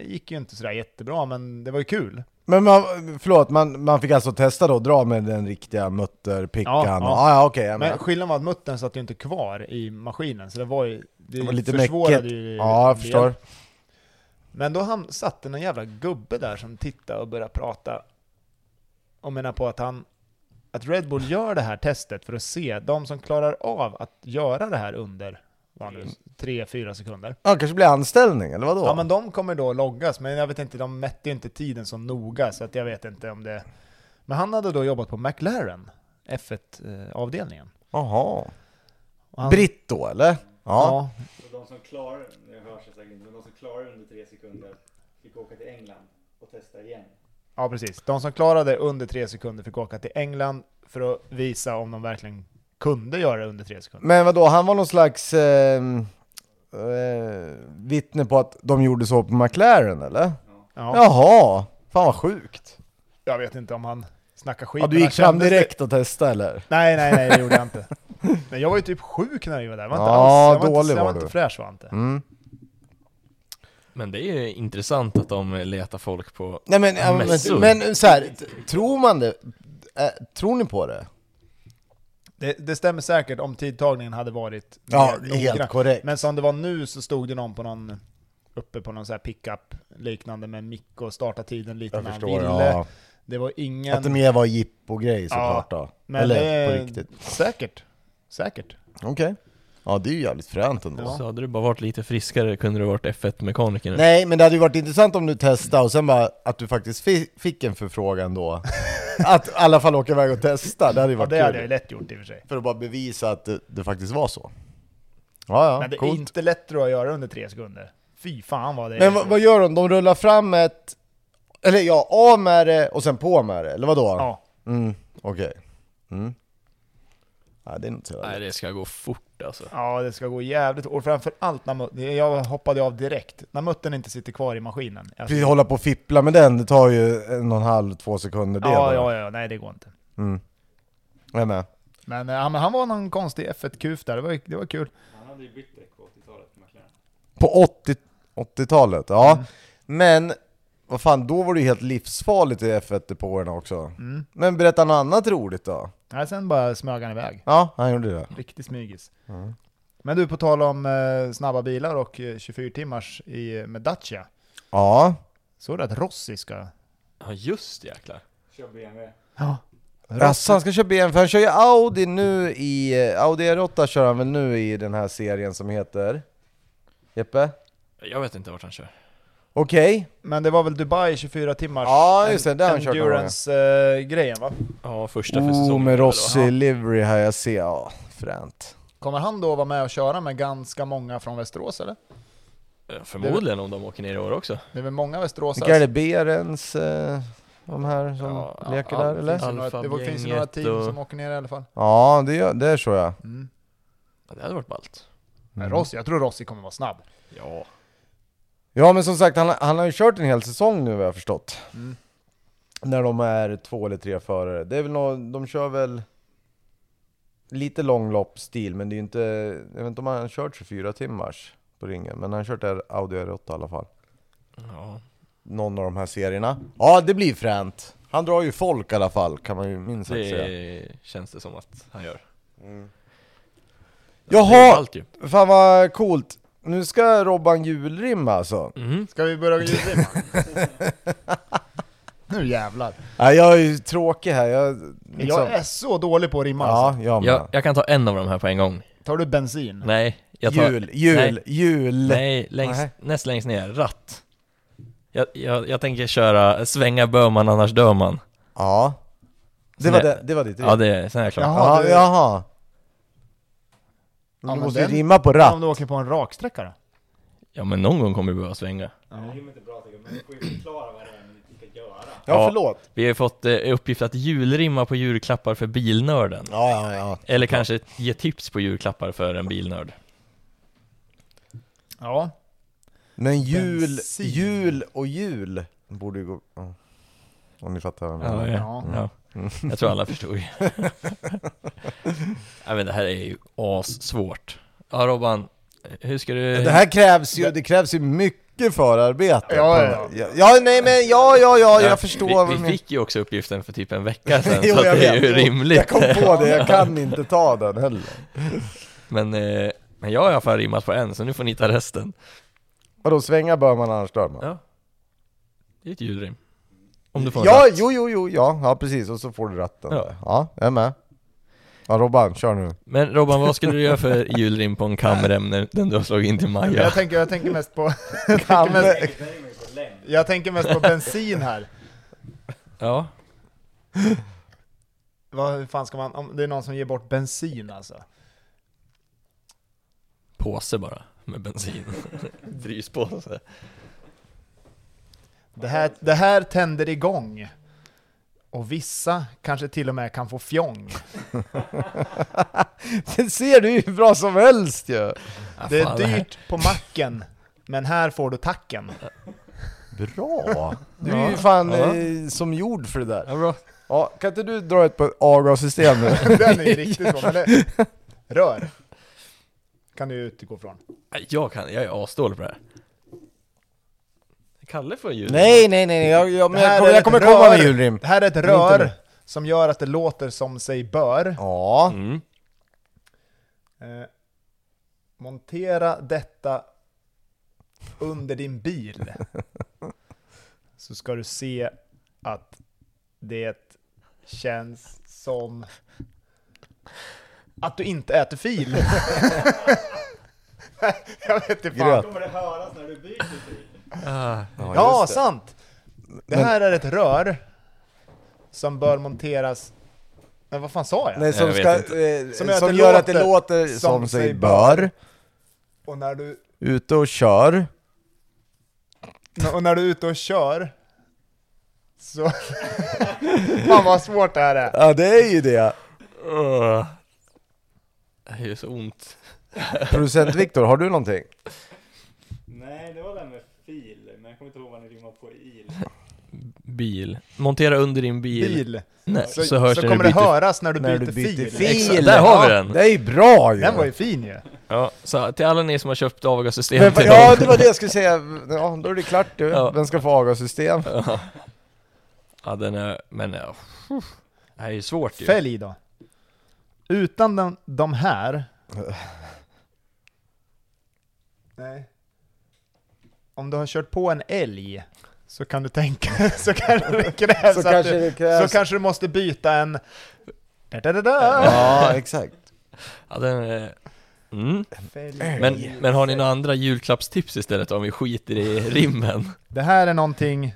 [SPEAKER 2] gick ju inte sådär jättebra men det var ju kul.
[SPEAKER 1] Men man, förlåt, man, man fick alltså testa då, dra med den riktiga mutterpickan
[SPEAKER 2] Ja, ja.
[SPEAKER 1] och... Ah, ja, okej, jag
[SPEAKER 2] Men
[SPEAKER 1] men,
[SPEAKER 2] skillnaden var att muttern satt ju inte kvar i maskinen så det var ju, det,
[SPEAKER 1] Det var lite
[SPEAKER 2] försvårade
[SPEAKER 1] mäckigt.
[SPEAKER 2] ju
[SPEAKER 1] Ja,
[SPEAKER 2] en
[SPEAKER 1] jag
[SPEAKER 2] del.
[SPEAKER 1] förstår.
[SPEAKER 2] Men då ham- satt det någon jävla gubbe där som tittade och började prata och menar på att han att Red Bull gör det här testet för att se de som klarar av att göra det här under vad nu, tre, fyra sekunder.
[SPEAKER 1] Ja, kanske blir anställning eller vadå?
[SPEAKER 2] Ja men de kommer då loggas, men jag vet inte, de mätte ju inte tiden så noga så att jag vet inte om det... Men han hade då jobbat på McLaren, F1-avdelningen.
[SPEAKER 1] Jaha.
[SPEAKER 2] Och han-
[SPEAKER 1] Britt då eller? Ja.
[SPEAKER 2] Ja.
[SPEAKER 4] Så de som klarar, det hörs jag säkert inte, men de som klarar under tre sekunder fick åka till England och testa igen.
[SPEAKER 2] ja, precis. De som klarade under tre sekunder fick åka till England för att visa om de verkligen kunde göra det under tre sekunder.
[SPEAKER 1] Men vadå, han var någon slags eh, eh, vittne på att de gjorde så på McLaren eller?
[SPEAKER 2] Ja,
[SPEAKER 1] Jaha, fan vad sjukt.
[SPEAKER 2] Jag vet inte om han snackar skit.
[SPEAKER 1] Ja, du
[SPEAKER 2] men han
[SPEAKER 1] gick fram
[SPEAKER 2] kändes-
[SPEAKER 1] direkt och testade eller?
[SPEAKER 2] Nej, nej, nej, det gjorde jag inte. Men jag var ju typ sjuk när jag var där. Jag var inte
[SPEAKER 1] Ja,
[SPEAKER 2] alls, jag var
[SPEAKER 1] dålig
[SPEAKER 2] inte, jag
[SPEAKER 1] var
[SPEAKER 2] var inte
[SPEAKER 1] du.
[SPEAKER 2] fräsch var jag inte.
[SPEAKER 1] Mm.
[SPEAKER 3] Men det är ju intressant att de letar folk på...
[SPEAKER 1] Nej men, ja,
[SPEAKER 3] Mässor.
[SPEAKER 1] men, men så här, t- tror man det? Eh, tror ni på det?
[SPEAKER 2] Det, det stämmer säkert om tidtagningen hade varit mer noggrann.
[SPEAKER 1] korrekt.
[SPEAKER 2] Men som det var nu så stod det någon på någon uppe på någon så här pickup liknande med en mick och starta tiden lite
[SPEAKER 1] Jag
[SPEAKER 2] när han
[SPEAKER 1] förstår,
[SPEAKER 2] ville.
[SPEAKER 1] ja.
[SPEAKER 2] Det var ingen...
[SPEAKER 1] Att det mer var jippo-grej såklart då.
[SPEAKER 2] men
[SPEAKER 1] Eller
[SPEAKER 2] det-
[SPEAKER 1] på riktigt.
[SPEAKER 2] Säkert. Säkert.
[SPEAKER 1] Okej. Ja det är ju jävligt fränt ändå.
[SPEAKER 2] Ja.
[SPEAKER 3] Så hade du bara varit lite friskare kunde du varit F1-mekaniker nu.
[SPEAKER 1] Nej men det hade ju varit intressant om du testade och sen bara att du faktiskt fi- fick en förfrågan då. att i alla fall åka iväg och testa, det hade ju
[SPEAKER 2] Ja,
[SPEAKER 1] varit
[SPEAKER 2] det hade jag
[SPEAKER 1] kul.
[SPEAKER 2] ju lätt gjort i och för sig.
[SPEAKER 1] För att bara bevisa att det, det faktiskt var så. Ja
[SPEAKER 2] Men det
[SPEAKER 1] ja,
[SPEAKER 2] är
[SPEAKER 1] coolt.
[SPEAKER 2] inte lätt tror jag att göra under tre sekunder. Fy fan vad det är.
[SPEAKER 1] Men vad, vad gör de? De rullar fram ett... Eller ja, av med det och sen på med det, eller vadå?
[SPEAKER 2] Ja.
[SPEAKER 1] Mm, okej. Mm. Nej, det är inte så
[SPEAKER 3] Nej
[SPEAKER 1] jävla-
[SPEAKER 3] det ska gå fort alltså.
[SPEAKER 2] ja, det ska gå jävligt Och framförallt när mut- jag hoppade av direkt. När muttern inte sitter kvar i maskinen. Alltså,
[SPEAKER 1] Precis, hålla på och fippla med den, det tar ju en och en halv, två sekunder det
[SPEAKER 2] ja,
[SPEAKER 1] bara.
[SPEAKER 2] ja, ja, nej det går inte.
[SPEAKER 1] Mm. Jag är med.
[SPEAKER 2] Men, eh, ja, men han var någon konstig F1-kuf där, det var, det var kul.
[SPEAKER 4] Han hade ju bytt däck på 80-talet på McLaren.
[SPEAKER 1] På 80, 80-talet, ja.
[SPEAKER 2] Mm.
[SPEAKER 1] Men, vad fan, då var det ju helt livsfarligt i F1-depåerna också.
[SPEAKER 2] Mm.
[SPEAKER 1] Men berätta något annat roligt då.
[SPEAKER 2] Nej, sen bara smög han iväg.
[SPEAKER 1] Ja, han gjorde det.
[SPEAKER 2] Riktig smygis.
[SPEAKER 1] Mm.
[SPEAKER 2] Men du, på tal om eh, snabba bilar och eh, 24 timmars i, eh, med Dacia.
[SPEAKER 1] Ja,
[SPEAKER 2] Såg du att Rossi ska...
[SPEAKER 3] Ja just jäklar.
[SPEAKER 4] Kör BMW.
[SPEAKER 2] Ja.
[SPEAKER 1] Rasse han ska köra BMW, för han kör ju Audi nu i, Audi R8 kör han väl nu i den här serien som heter? Jeppe?
[SPEAKER 3] Jag vet inte vart han kör.
[SPEAKER 1] Okej,
[SPEAKER 2] Men det var väl Dubai 24 timmars
[SPEAKER 1] Ja, just det, där har han kört några
[SPEAKER 2] endurance-grejen va?
[SPEAKER 3] Ja första för
[SPEAKER 1] oh
[SPEAKER 3] säsongen.
[SPEAKER 1] med
[SPEAKER 3] eller vad?
[SPEAKER 1] Rossi livery här, jag ser, ja fränt
[SPEAKER 2] Kommer han då vara med och köra med ganska många från Västerås eller?
[SPEAKER 3] Ja, Förmodligen om de åker ner i år också.
[SPEAKER 2] Det är väl många
[SPEAKER 1] Vilka är
[SPEAKER 2] västeråsare?
[SPEAKER 1] det? Berens, eh, de här som
[SPEAKER 3] Ja,
[SPEAKER 1] leker
[SPEAKER 3] ja,
[SPEAKER 1] där
[SPEAKER 3] ja,
[SPEAKER 1] eller?
[SPEAKER 2] Finns det några- Det var- finns ju några
[SPEAKER 3] Alfa-gänget
[SPEAKER 2] team
[SPEAKER 3] och-
[SPEAKER 2] som åker ner i alla fall.
[SPEAKER 1] Ja, det, gör- det är så ja
[SPEAKER 2] Mm.
[SPEAKER 3] Ja, det hade varit ballt.
[SPEAKER 2] Men Rossi, jag tror Rossi kommer vara snabb.
[SPEAKER 3] Ja.
[SPEAKER 1] Ja men som sagt, han, han har ju kört en hel säsong nu vad jag har förstått
[SPEAKER 2] Mm.
[SPEAKER 1] När de är två eller tre förare, det är väl nå, de kör väl lite långloppsstil men det är ju inte, jag vet inte om han har kört 24 timmars på ringen Men han har kört där Audi R8 i alla fall
[SPEAKER 3] ja.
[SPEAKER 1] Någon av de här serierna Ja det blir fränt! Han drar ju folk i alla fall kan man ju minst sagt säga
[SPEAKER 3] Det känns det som att han gör. Det är
[SPEAKER 1] Jaha!
[SPEAKER 3] ballt ju.
[SPEAKER 1] Fan vad coolt! Nu ska Robban julrimma alltså
[SPEAKER 3] Mhm.
[SPEAKER 2] Ska vi börja julrimma? nu jävlar.
[SPEAKER 1] Nej jag är ju tråkig här, jag... liksom-
[SPEAKER 2] Jag är så dålig på att rimma alltså.
[SPEAKER 1] Ja, jag med.
[SPEAKER 3] Jag, jag kan ta en av de här på en gång.
[SPEAKER 2] Tar du bensin?
[SPEAKER 3] Nej, jag tar...
[SPEAKER 1] Jul, jul,
[SPEAKER 3] Nej.
[SPEAKER 1] jul!
[SPEAKER 3] Nej, längst,
[SPEAKER 1] Nej.
[SPEAKER 3] näst längst ner. Ratt. Jag, jag, jag tänker köra svänga bör man annars dör man.
[SPEAKER 1] Ja. Det
[SPEAKER 3] Sen
[SPEAKER 1] var,
[SPEAKER 3] är-
[SPEAKER 1] det, det var ditt rim?
[SPEAKER 3] Ja, det, sen är jag klar.
[SPEAKER 2] Jaha.
[SPEAKER 1] Jaha,
[SPEAKER 2] det-
[SPEAKER 1] jaha. Men
[SPEAKER 2] Ja,
[SPEAKER 1] du
[SPEAKER 2] men
[SPEAKER 1] måste
[SPEAKER 2] den-
[SPEAKER 1] ju rimma på
[SPEAKER 2] Ja.
[SPEAKER 1] ratt.
[SPEAKER 2] Om du åker på en raksträcka då?
[SPEAKER 3] Ja, men någon gång kommer vi behöva svänga.
[SPEAKER 4] Det är ju inte bra tycker jag, men vi får ju förklara vad det är ni ska göra.
[SPEAKER 1] Ja,
[SPEAKER 3] Ja.
[SPEAKER 1] förlåt.
[SPEAKER 3] Vi har ju fått eh, i uppgift att julrimma på julklappar för bilnörden.
[SPEAKER 1] Ja, ja, ja.
[SPEAKER 3] Eller kanske ge tips på julklappar för en bilnörd.
[SPEAKER 2] Ja.
[SPEAKER 1] Men jul,
[SPEAKER 2] Bensin.
[SPEAKER 1] jul och jul borde ju gå... Ja. Om ni fattar vad jag menar.
[SPEAKER 3] Ja,
[SPEAKER 2] Ja.
[SPEAKER 3] ja. ja. Jag tror alla förstod. Nej, men det här är ju assvårt. Ja, Robban, hur ska du...
[SPEAKER 1] Det här krävs ju, det krävs ju mycket förarbete.
[SPEAKER 2] Ja, ja,
[SPEAKER 1] på- ja, nej men ja, ja, ja, jag förstår vad
[SPEAKER 3] vi,
[SPEAKER 1] du
[SPEAKER 3] vi
[SPEAKER 1] menar.
[SPEAKER 3] fick ju också uppgiften för typ en vecka sedan,
[SPEAKER 1] Jo,
[SPEAKER 3] så att
[SPEAKER 1] jag
[SPEAKER 3] det är ju
[SPEAKER 1] vet.
[SPEAKER 3] rimligt.
[SPEAKER 1] Jag kom på det, jag kan inte ta den heller.
[SPEAKER 3] Men, eh, men jag har i alla fall rimmat på en, så nu får ni ta resten.
[SPEAKER 1] Vadå, svänga bör man annars dör man?
[SPEAKER 3] Ja. Det är ett julrim. Om du får en
[SPEAKER 1] Ja,
[SPEAKER 3] ratt.
[SPEAKER 1] jo, jo, jo, ja, ja precis, och så får du ratten.
[SPEAKER 3] Ja.
[SPEAKER 1] Ja, ja jag är med. Ja Robban, kör nu.
[SPEAKER 3] Men Robban, vad skulle du göra för julrim på en kamrem när den du har slagit in till Maja?
[SPEAKER 2] Jag, tänker, jag tänker mest på...
[SPEAKER 1] Kan
[SPEAKER 2] Men-
[SPEAKER 1] det-
[SPEAKER 2] Jag tänker mest på bensin här.
[SPEAKER 3] Ja,
[SPEAKER 2] Vad hur fan ska man... Om det är någon som ger bort bensin alltså.
[SPEAKER 3] påse bara med bensin. Fryspåse.
[SPEAKER 2] Det här, det här tänder igång. Och vissa kanske till och med kan få fjong.
[SPEAKER 1] det ser du ju hur bra som helst ju!
[SPEAKER 3] Ja,
[SPEAKER 2] Det är
[SPEAKER 3] Ah, fan, här-
[SPEAKER 2] dyrt på macken, men här får du tacken.
[SPEAKER 1] Bra! Du är ju fan
[SPEAKER 3] Ja.
[SPEAKER 1] eh, som gjord för det där.
[SPEAKER 3] Ja, bra.
[SPEAKER 1] Ja, kan inte du dra ett på avgassystem nu?
[SPEAKER 2] Den är ju riktigt bra, men det- Rör. Kan du utgå från.
[SPEAKER 3] Nej, Jag kan, jag är asdålig på det här. Kalle får jul.
[SPEAKER 1] nej, nej, nej, jag, jag, men
[SPEAKER 2] Det här
[SPEAKER 1] jag kommer,
[SPEAKER 2] är
[SPEAKER 1] jag
[SPEAKER 2] ett
[SPEAKER 1] kommer komma med
[SPEAKER 2] rör.
[SPEAKER 1] julrim.
[SPEAKER 2] Det här är ett
[SPEAKER 1] inte
[SPEAKER 2] rör
[SPEAKER 1] nu.
[SPEAKER 2] som gör att det låter som sig bör.
[SPEAKER 1] Ja,
[SPEAKER 3] Mm.
[SPEAKER 2] Eh, montera detta under din bil. Så ska du se att det känns som att du inte äter fil. Jag vet inte fan.
[SPEAKER 1] Gröt.
[SPEAKER 4] Kommer det höras när du byter bil?
[SPEAKER 3] Ah,
[SPEAKER 2] Ja,
[SPEAKER 1] just det.
[SPEAKER 2] sant! Det
[SPEAKER 1] Men-
[SPEAKER 2] här är ett rör som bör monteras... Men vad fan sa jag?
[SPEAKER 1] nej, som,
[SPEAKER 3] Jag vet
[SPEAKER 1] ska,
[SPEAKER 3] inte.
[SPEAKER 1] eh,
[SPEAKER 2] Som
[SPEAKER 1] som,
[SPEAKER 2] gör att det
[SPEAKER 1] gör att det
[SPEAKER 2] låter
[SPEAKER 1] låter som sig bör,
[SPEAKER 2] Och när du
[SPEAKER 1] ute och kör.
[SPEAKER 2] N- Och när du är ute och kör så... Fan vad svårt det här är!
[SPEAKER 1] Ja, det är ju det!
[SPEAKER 3] Ugh. Det gör så ont.
[SPEAKER 1] Producent Viktor, har du någonting?
[SPEAKER 4] Nej, det var den med fil, men jag kommer inte ihåg vad ni rimmar på il.
[SPEAKER 3] Bil. Montera under din bil.
[SPEAKER 2] Bil.
[SPEAKER 3] Nej, så,
[SPEAKER 2] Så,
[SPEAKER 3] så hörs när
[SPEAKER 2] kommer
[SPEAKER 3] du
[SPEAKER 2] det
[SPEAKER 3] byter.
[SPEAKER 2] höras när du
[SPEAKER 1] När
[SPEAKER 2] byter,
[SPEAKER 1] du byter
[SPEAKER 2] fil.
[SPEAKER 1] fil!
[SPEAKER 3] Exakt, där har vi
[SPEAKER 1] Ja,
[SPEAKER 3] den.
[SPEAKER 1] Det är ju bra ju!
[SPEAKER 2] Den var ju fin ju!
[SPEAKER 3] Ja, så till alla ni som har köpt avgassystem
[SPEAKER 1] Vem,
[SPEAKER 3] till
[SPEAKER 1] ja, det var det jag skulle säga. Ja, då är det klart du.
[SPEAKER 3] Ja.
[SPEAKER 1] Vem ska få avgassystem?
[SPEAKER 3] Ja. Ja, den är... Men... Ja. Det här är ju svårt ju.
[SPEAKER 2] Fälg då. Utan den, de här... Nej. Om du har kört på en älg så kan du tänka... Så kanske det krävs
[SPEAKER 1] Så
[SPEAKER 2] att
[SPEAKER 1] kanske
[SPEAKER 2] du,
[SPEAKER 1] det krävs-
[SPEAKER 2] Så kanske du måste byta en... Da, da, da, da.
[SPEAKER 1] Ja, exakt.
[SPEAKER 3] Ja, den är... Mm.
[SPEAKER 2] Fälg.
[SPEAKER 3] Men, men har ni några andra julklappstips istället om vi skiter i rimmen?
[SPEAKER 2] Det här är någonting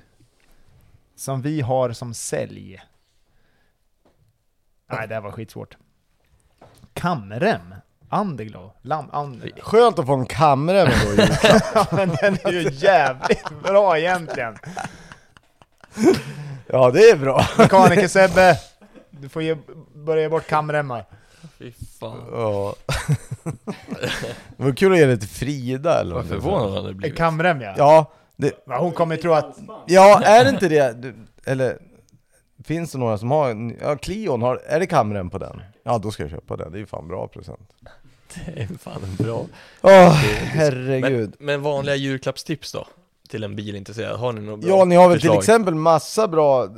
[SPEAKER 2] som vi har som sälj. Nej, det här var skitsvårt. Kamrem. Andeglow. Lam, and...
[SPEAKER 1] Skönt att få en kamera med då. ju.
[SPEAKER 2] Ja, men den är ju jävligt bra egentligen.
[SPEAKER 1] Ja, det är bra.
[SPEAKER 2] Mekaniker-Sebbe, du får ge, börja ge bort kamremmar.
[SPEAKER 3] Fy fan.
[SPEAKER 1] Ja. Det var kul att ge det till Frida eller
[SPEAKER 3] Vad
[SPEAKER 1] vad det var.
[SPEAKER 3] förvånad han hade
[SPEAKER 2] En
[SPEAKER 3] blivit.
[SPEAKER 2] Eh, kamrem ja.
[SPEAKER 1] Ja, det,
[SPEAKER 2] Va, Hon kommer tro att...
[SPEAKER 1] ja, är det inte det? Du, eller, finns det några som har en, ja Clion, har, är det kameran på den? Ja, då ska jag köpa den. Det är ju fan bra present.
[SPEAKER 3] Det är fan en bra.
[SPEAKER 1] Åh, herregud.
[SPEAKER 3] Men, men vanliga julklappstips då? Till en bilintresserad, har ni något bra
[SPEAKER 1] Ja, ni har väl till
[SPEAKER 3] förslag?
[SPEAKER 1] exempel massa bra eh,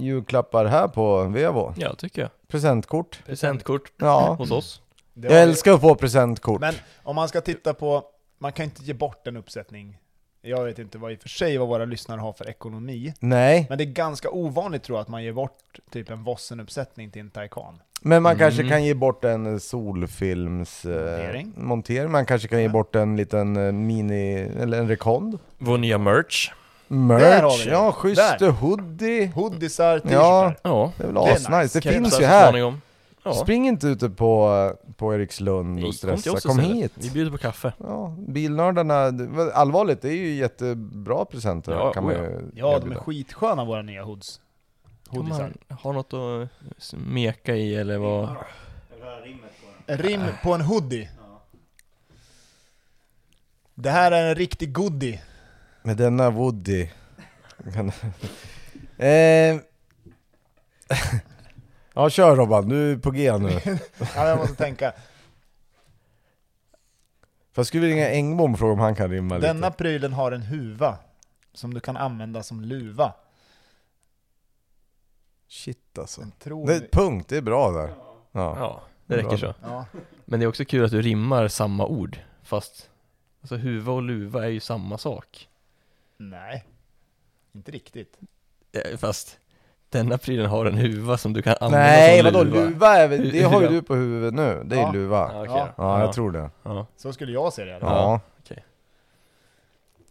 [SPEAKER 1] julklappar här på Vevo?
[SPEAKER 3] Ja, tycker jag.
[SPEAKER 1] Presentkort.
[SPEAKER 3] Presentkort
[SPEAKER 1] Ja.
[SPEAKER 3] hos oss.
[SPEAKER 2] Det var
[SPEAKER 1] Jag
[SPEAKER 2] ju-
[SPEAKER 1] älskar att få presentkort.
[SPEAKER 2] Men om man ska titta på... Man kan inte ge bort en uppsättning. Jag vet inte vad i och för sig vad våra lyssnare har för ekonomi.
[SPEAKER 1] Nej,
[SPEAKER 2] Men det är ganska ovanligt tror jag att man ger bort typ en Vossen-uppsättning till en Taycan.
[SPEAKER 1] men man kanske
[SPEAKER 3] Mm.
[SPEAKER 1] kan ge bort en eh, solfilms... eh,
[SPEAKER 2] Montering.
[SPEAKER 1] montering. Man kanske kan ge
[SPEAKER 2] Ja.
[SPEAKER 1] bort en liten eh, mini... eller en rekond.
[SPEAKER 3] Vår nya merch.
[SPEAKER 2] Där har
[SPEAKER 1] Merch,
[SPEAKER 2] vi det.
[SPEAKER 1] ja schysst
[SPEAKER 2] Där.
[SPEAKER 1] hoodie.
[SPEAKER 2] Hoodiesar, t-shirtar.
[SPEAKER 1] Ja,
[SPEAKER 3] Ja.
[SPEAKER 1] det är väl
[SPEAKER 2] Det är
[SPEAKER 1] asnice. Det,
[SPEAKER 2] nice.
[SPEAKER 3] kan jag
[SPEAKER 1] finns
[SPEAKER 3] tipsa
[SPEAKER 1] ju
[SPEAKER 3] så
[SPEAKER 1] här.
[SPEAKER 3] småningom. Ja.
[SPEAKER 1] Spring inte ute på, eh, på Erikslund och
[SPEAKER 3] till
[SPEAKER 1] stressa,
[SPEAKER 3] oss
[SPEAKER 1] kom
[SPEAKER 3] istället. Vi
[SPEAKER 1] hit.
[SPEAKER 3] bjuder på kaffe.
[SPEAKER 1] Ja, bilnördarna, det- vad- allvarligt, det är ju jättebra presenter
[SPEAKER 3] Ja,
[SPEAKER 1] kan man ju
[SPEAKER 2] ja, de är
[SPEAKER 1] erbjuda.
[SPEAKER 2] skitsköna våra nya hoods.
[SPEAKER 3] Om
[SPEAKER 2] Hoodiesar.
[SPEAKER 3] man har något att meka i eller vad...
[SPEAKER 4] Jag vill höra rimmet på den.
[SPEAKER 2] Rim på en hoodie.
[SPEAKER 4] Ja.
[SPEAKER 2] Det här är en riktig goodie.
[SPEAKER 1] Med denna Woody. Kan- eh, ja, kör Robban, du är på G nu.
[SPEAKER 2] Ja, jag måste tänka.
[SPEAKER 1] Fast skulle vi ringa Engblom och fråga om han kan rimma
[SPEAKER 2] Denna
[SPEAKER 1] lite.
[SPEAKER 2] prylen har en huva som du kan använda som luva.
[SPEAKER 1] Shit alltså.
[SPEAKER 2] Tror ni?
[SPEAKER 1] Det, punkt, det är bra där. Ja.
[SPEAKER 3] Ja, det räcker
[SPEAKER 1] Bra.
[SPEAKER 3] så.
[SPEAKER 2] Ja.
[SPEAKER 3] Men det är också kul att du rimmar samma ord, fast... Alltså huva och luva är ju samma sak.
[SPEAKER 2] Nej. Inte riktigt.
[SPEAKER 3] Eh, Fast Denna prylen har en huva som du kan använda
[SPEAKER 1] Nej
[SPEAKER 3] som
[SPEAKER 1] vadå
[SPEAKER 3] luva.
[SPEAKER 1] luva? är väl- Det har ju
[SPEAKER 3] Hur-
[SPEAKER 1] du på huvudet nu, det är
[SPEAKER 2] Ja.
[SPEAKER 1] luva
[SPEAKER 3] Ja, okej
[SPEAKER 2] Ja.
[SPEAKER 3] då.
[SPEAKER 1] Ja jag tror det
[SPEAKER 3] Ja.
[SPEAKER 2] Så skulle jag se det. i alla fall.
[SPEAKER 1] Ja,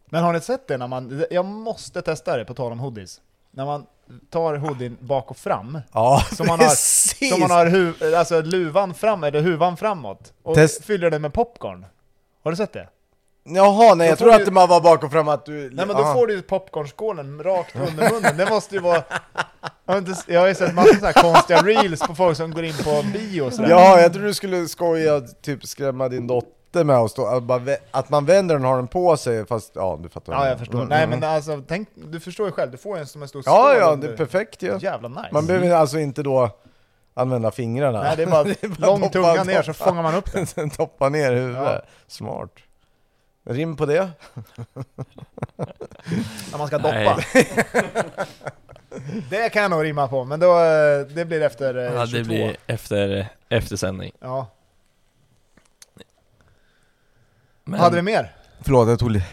[SPEAKER 2] Men har ni sett det när man, jag måste testa det på tal om hoodies. När man tar hoodien bak och fram,
[SPEAKER 1] ja
[SPEAKER 2] Som man har-
[SPEAKER 1] precis!
[SPEAKER 2] så man har hu- alltså luvan fram, eller huvan framåt, och
[SPEAKER 1] Test-
[SPEAKER 2] fyller den med popcorn. Har du sett det?
[SPEAKER 1] Jaha nej
[SPEAKER 2] Då
[SPEAKER 1] jag
[SPEAKER 2] får
[SPEAKER 1] tror
[SPEAKER 2] du-
[SPEAKER 1] att det bara var bak och fram att du...
[SPEAKER 2] Nej men då
[SPEAKER 1] Ja.
[SPEAKER 2] får du ju popcornskålen rakt under munnen, det måste ju vara... Jag har, inte, jag har ju sett massa så här konstiga reels på folk som går in på bio och sådär.
[SPEAKER 1] Ja, jag tror du skulle skoja, typ skrämma din dotter med att stå, att, bara, vä- att man vänder den och har den på sig fast, ja du fattar vad
[SPEAKER 2] Ja, jag
[SPEAKER 1] menar.
[SPEAKER 2] förstår.
[SPEAKER 1] Mm,
[SPEAKER 2] Nej
[SPEAKER 1] mm,
[SPEAKER 2] men
[SPEAKER 1] mm.
[SPEAKER 2] alltså, tänk, du förstår ju själv, du får ju en som en stor
[SPEAKER 1] Ja,
[SPEAKER 2] skål
[SPEAKER 1] ja, det
[SPEAKER 2] under.
[SPEAKER 1] är perfekt ju.
[SPEAKER 2] Jävla nice.
[SPEAKER 1] Man behöver alltså inte då använda fingrarna.
[SPEAKER 2] Nej, det är bara, lång
[SPEAKER 1] doppa-
[SPEAKER 2] tunga ner så
[SPEAKER 1] doppa.
[SPEAKER 2] fångar man upp den.
[SPEAKER 1] Sen doppa ner huvudet.
[SPEAKER 2] Ja.
[SPEAKER 1] Smart. Rim på det?
[SPEAKER 2] När man ska
[SPEAKER 3] Nej.
[SPEAKER 2] doppa. det kan jag nog rimma på, men då, eh, det blir efter eh,
[SPEAKER 3] ja,
[SPEAKER 2] 22.
[SPEAKER 3] det blir efter, eftersändning.
[SPEAKER 2] Ja.
[SPEAKER 3] Men,
[SPEAKER 2] Hade vi mer?
[SPEAKER 1] Förlåt, jag tog lite...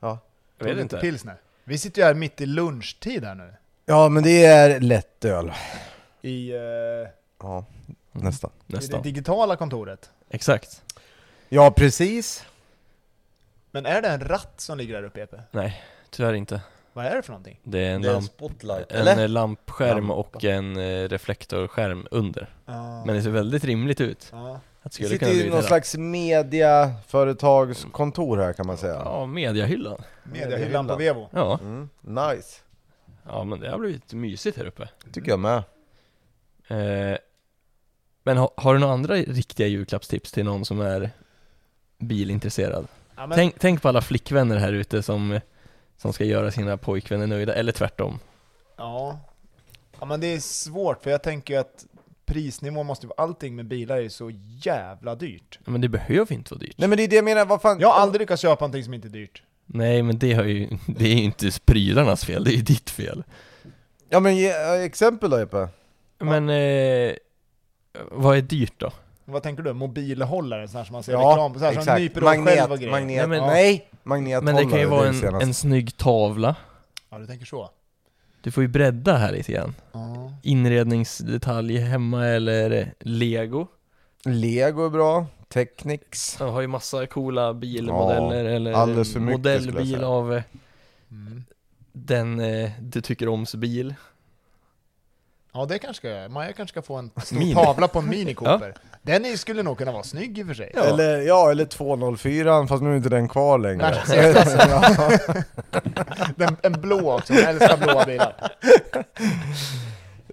[SPEAKER 3] jag vet
[SPEAKER 2] Tog
[SPEAKER 3] inte.
[SPEAKER 2] lite pilsner. Vi sitter ju här mitt i lunchtid här nu.
[SPEAKER 1] Ja, men det är lättöl.
[SPEAKER 2] I, eh,
[SPEAKER 1] Ja,
[SPEAKER 3] Mm.
[SPEAKER 1] nästan.
[SPEAKER 2] i det
[SPEAKER 3] Nästan.
[SPEAKER 2] digitala kontoret.
[SPEAKER 3] Exakt.
[SPEAKER 1] Ja, precis.
[SPEAKER 2] Men är det en ratt som ligger där uppe Epe?
[SPEAKER 3] Nej, tyvärr inte.
[SPEAKER 2] Vad är det för någonting?
[SPEAKER 3] Det är en, lamp,
[SPEAKER 1] spotlight,
[SPEAKER 3] en eh, lampskärm och en eh, reflektorskärm under.
[SPEAKER 2] Ja.
[SPEAKER 3] Men det ser väldigt rimligt ut.
[SPEAKER 2] Ja.
[SPEAKER 3] Att det skulle
[SPEAKER 1] Sitter
[SPEAKER 3] kunna bli
[SPEAKER 1] i någon
[SPEAKER 3] någon
[SPEAKER 1] slags mediaföretagskontor här kan man säga.
[SPEAKER 3] Ja, mediahyllan.
[SPEAKER 2] Mediahyllan på Vevo.
[SPEAKER 3] Ja.
[SPEAKER 1] Mm, nice.
[SPEAKER 3] ja, men det har blivit mysigt här uppe.
[SPEAKER 1] Tycker jag med.
[SPEAKER 3] Eh, men ha, har du några andra riktiga julklappstips till någon som är bilintresserad?
[SPEAKER 2] Ja, men,
[SPEAKER 3] Tänk, tänk på alla flickvänner här ute som, som ska göra sina pojkvänner nöjda, eller tvärtom.
[SPEAKER 2] ja. ja, men det är svårt för jag tänker ju att prisnivån måste vara, allting med bilar är ju så jävla dyrt.
[SPEAKER 3] Men det behöver inte vara dyrt.
[SPEAKER 1] Nej men det är det jag menar, vad fan...
[SPEAKER 2] Jag har aldrig lyckats köpa någonting som inte är dyrt.
[SPEAKER 3] Nej, men det, har ju, det är ju inte prylarnas fel, det är ju ditt fel.
[SPEAKER 1] Ja men ge eh, exempel då Jeppe.
[SPEAKER 3] Men eh, vad är dyrt då?
[SPEAKER 2] Vad tänker du? Mobilhållare, sån här som man ser
[SPEAKER 1] Ja,
[SPEAKER 2] reklam på, så här som nyper åt själv och
[SPEAKER 1] Magnet,
[SPEAKER 2] grejer.
[SPEAKER 1] magnet,
[SPEAKER 3] Nej, men-
[SPEAKER 1] nej! Magnethållare,
[SPEAKER 3] Men det kan ju vara
[SPEAKER 1] är
[SPEAKER 3] en,
[SPEAKER 1] senaste.
[SPEAKER 3] en snygg tavla.
[SPEAKER 2] Ja, du tänker så?
[SPEAKER 3] Du får ju bredda här lite grann.
[SPEAKER 2] Ja.
[SPEAKER 3] Inredningsdetaljer hemma eller lego.
[SPEAKER 1] Lego är bra, Technics.
[SPEAKER 3] Jag har ju massa coola bilmodeller eller
[SPEAKER 1] alldeles för mycket skulle jag
[SPEAKER 3] modellbil
[SPEAKER 1] säga.
[SPEAKER 3] av eh,
[SPEAKER 2] Mm.
[SPEAKER 3] den eh, du tycker oms bil.
[SPEAKER 2] Ja, det kanske ska jag göra. Maja kanske ska få en stor
[SPEAKER 3] Mini.
[SPEAKER 2] tavla på en Mini Cooper. Den är, skulle nog kunna vara snygg i och för sig.
[SPEAKER 3] Ja.
[SPEAKER 1] Eller, ja, eller 204 fast nu är inte den kvar längre.
[SPEAKER 2] Nej,
[SPEAKER 1] ja.
[SPEAKER 2] Den, en blå också, jag älskar blåa bilar.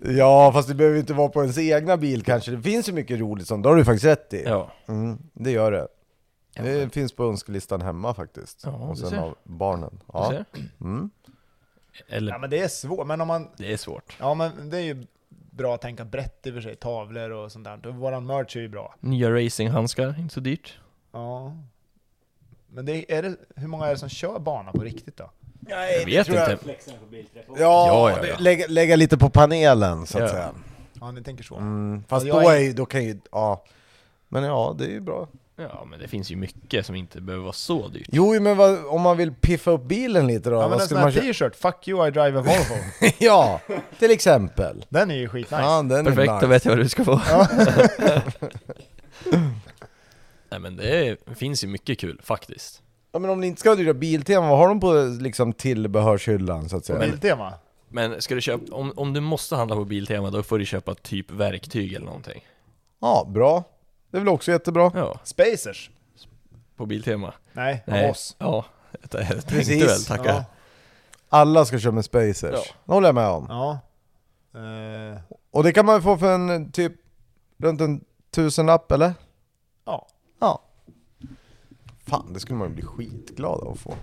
[SPEAKER 1] ja fast det behöver inte vara på ens egna bil kanske, det finns ju mycket roligt sånt, det har du faktiskt rätt i.
[SPEAKER 3] Ja.
[SPEAKER 1] Mm, det gör det.
[SPEAKER 3] Ja,
[SPEAKER 1] det
[SPEAKER 3] men-
[SPEAKER 1] finns på önskelistan hemma faktiskt.
[SPEAKER 3] Ja,
[SPEAKER 1] och
[SPEAKER 3] du
[SPEAKER 1] sen
[SPEAKER 3] ser.
[SPEAKER 1] av barnen.
[SPEAKER 3] Du
[SPEAKER 1] Ja.
[SPEAKER 3] ser?
[SPEAKER 1] Mm.
[SPEAKER 3] Eller,
[SPEAKER 2] Ja, men det är svårt. Men om man...
[SPEAKER 3] det är svårt.
[SPEAKER 2] Ja, men det är ju bra att tänka brett i och för sig. Tavlor och sånt där. Och Våran merch är ju bra.
[SPEAKER 3] Nya racinghandskar, inte så dyrt.
[SPEAKER 2] Ja. Men det är det, hur många är det som kör bana på riktigt då?
[SPEAKER 1] Nej,
[SPEAKER 3] Jag vet inte.
[SPEAKER 4] Flexen på bilträff.
[SPEAKER 1] Ja,
[SPEAKER 3] Ja, ja, ja.
[SPEAKER 1] Lägga, lägga lite på panelen så att
[SPEAKER 3] Ja.
[SPEAKER 1] säga.
[SPEAKER 2] Ja, ni tänker så.
[SPEAKER 1] Mm, fast
[SPEAKER 2] Ja, jag
[SPEAKER 1] då,
[SPEAKER 2] är-
[SPEAKER 1] är, ju- då kan ju, ja. Men ja, det är ju bra.
[SPEAKER 3] Ja, men det finns ju mycket som inte behöver vara så dyrt.
[SPEAKER 1] Jo, men vad, om man vill piffa upp bilen lite då?
[SPEAKER 2] Ja, men
[SPEAKER 1] vad
[SPEAKER 2] en sån
[SPEAKER 1] skulle
[SPEAKER 2] här
[SPEAKER 1] man köpa?
[SPEAKER 2] t-shirt, 'Fuck you I drive a Volvo'
[SPEAKER 1] ja, till exempel.
[SPEAKER 2] Den är ju skitnice.
[SPEAKER 1] Ja, den
[SPEAKER 3] Perfekt,
[SPEAKER 1] är nice.
[SPEAKER 3] då vet jag vad du ska få. Nej men det är, finns ju mycket kul faktiskt.
[SPEAKER 1] Ja, men om ni inte ska ha dyra Biltema, vad har de på liksom tillbehörshyllan så att säga?
[SPEAKER 2] Biltema.
[SPEAKER 3] Men ska du köpa, om, om du måste handla på Biltema då får du köpa typ verktyg eller någonting.
[SPEAKER 1] Ja, bra. Det är väl också jättebra.
[SPEAKER 3] Ja,
[SPEAKER 2] Spacers.
[SPEAKER 3] på Biltema.
[SPEAKER 2] Nej, av
[SPEAKER 3] Nej.
[SPEAKER 2] oss.
[SPEAKER 3] Ja, jag tänkte
[SPEAKER 1] Precis.
[SPEAKER 3] väl tacka.
[SPEAKER 2] Ja.
[SPEAKER 1] Alla ska köra med spacers.
[SPEAKER 3] Ja.
[SPEAKER 1] Det håller jag med om.
[SPEAKER 2] Ja. Eh,
[SPEAKER 1] Och det kan man få för en typ runt en tusenlapp eller?
[SPEAKER 2] ja.
[SPEAKER 1] Ja. Fan, det skulle man ju bli skitglad av att få.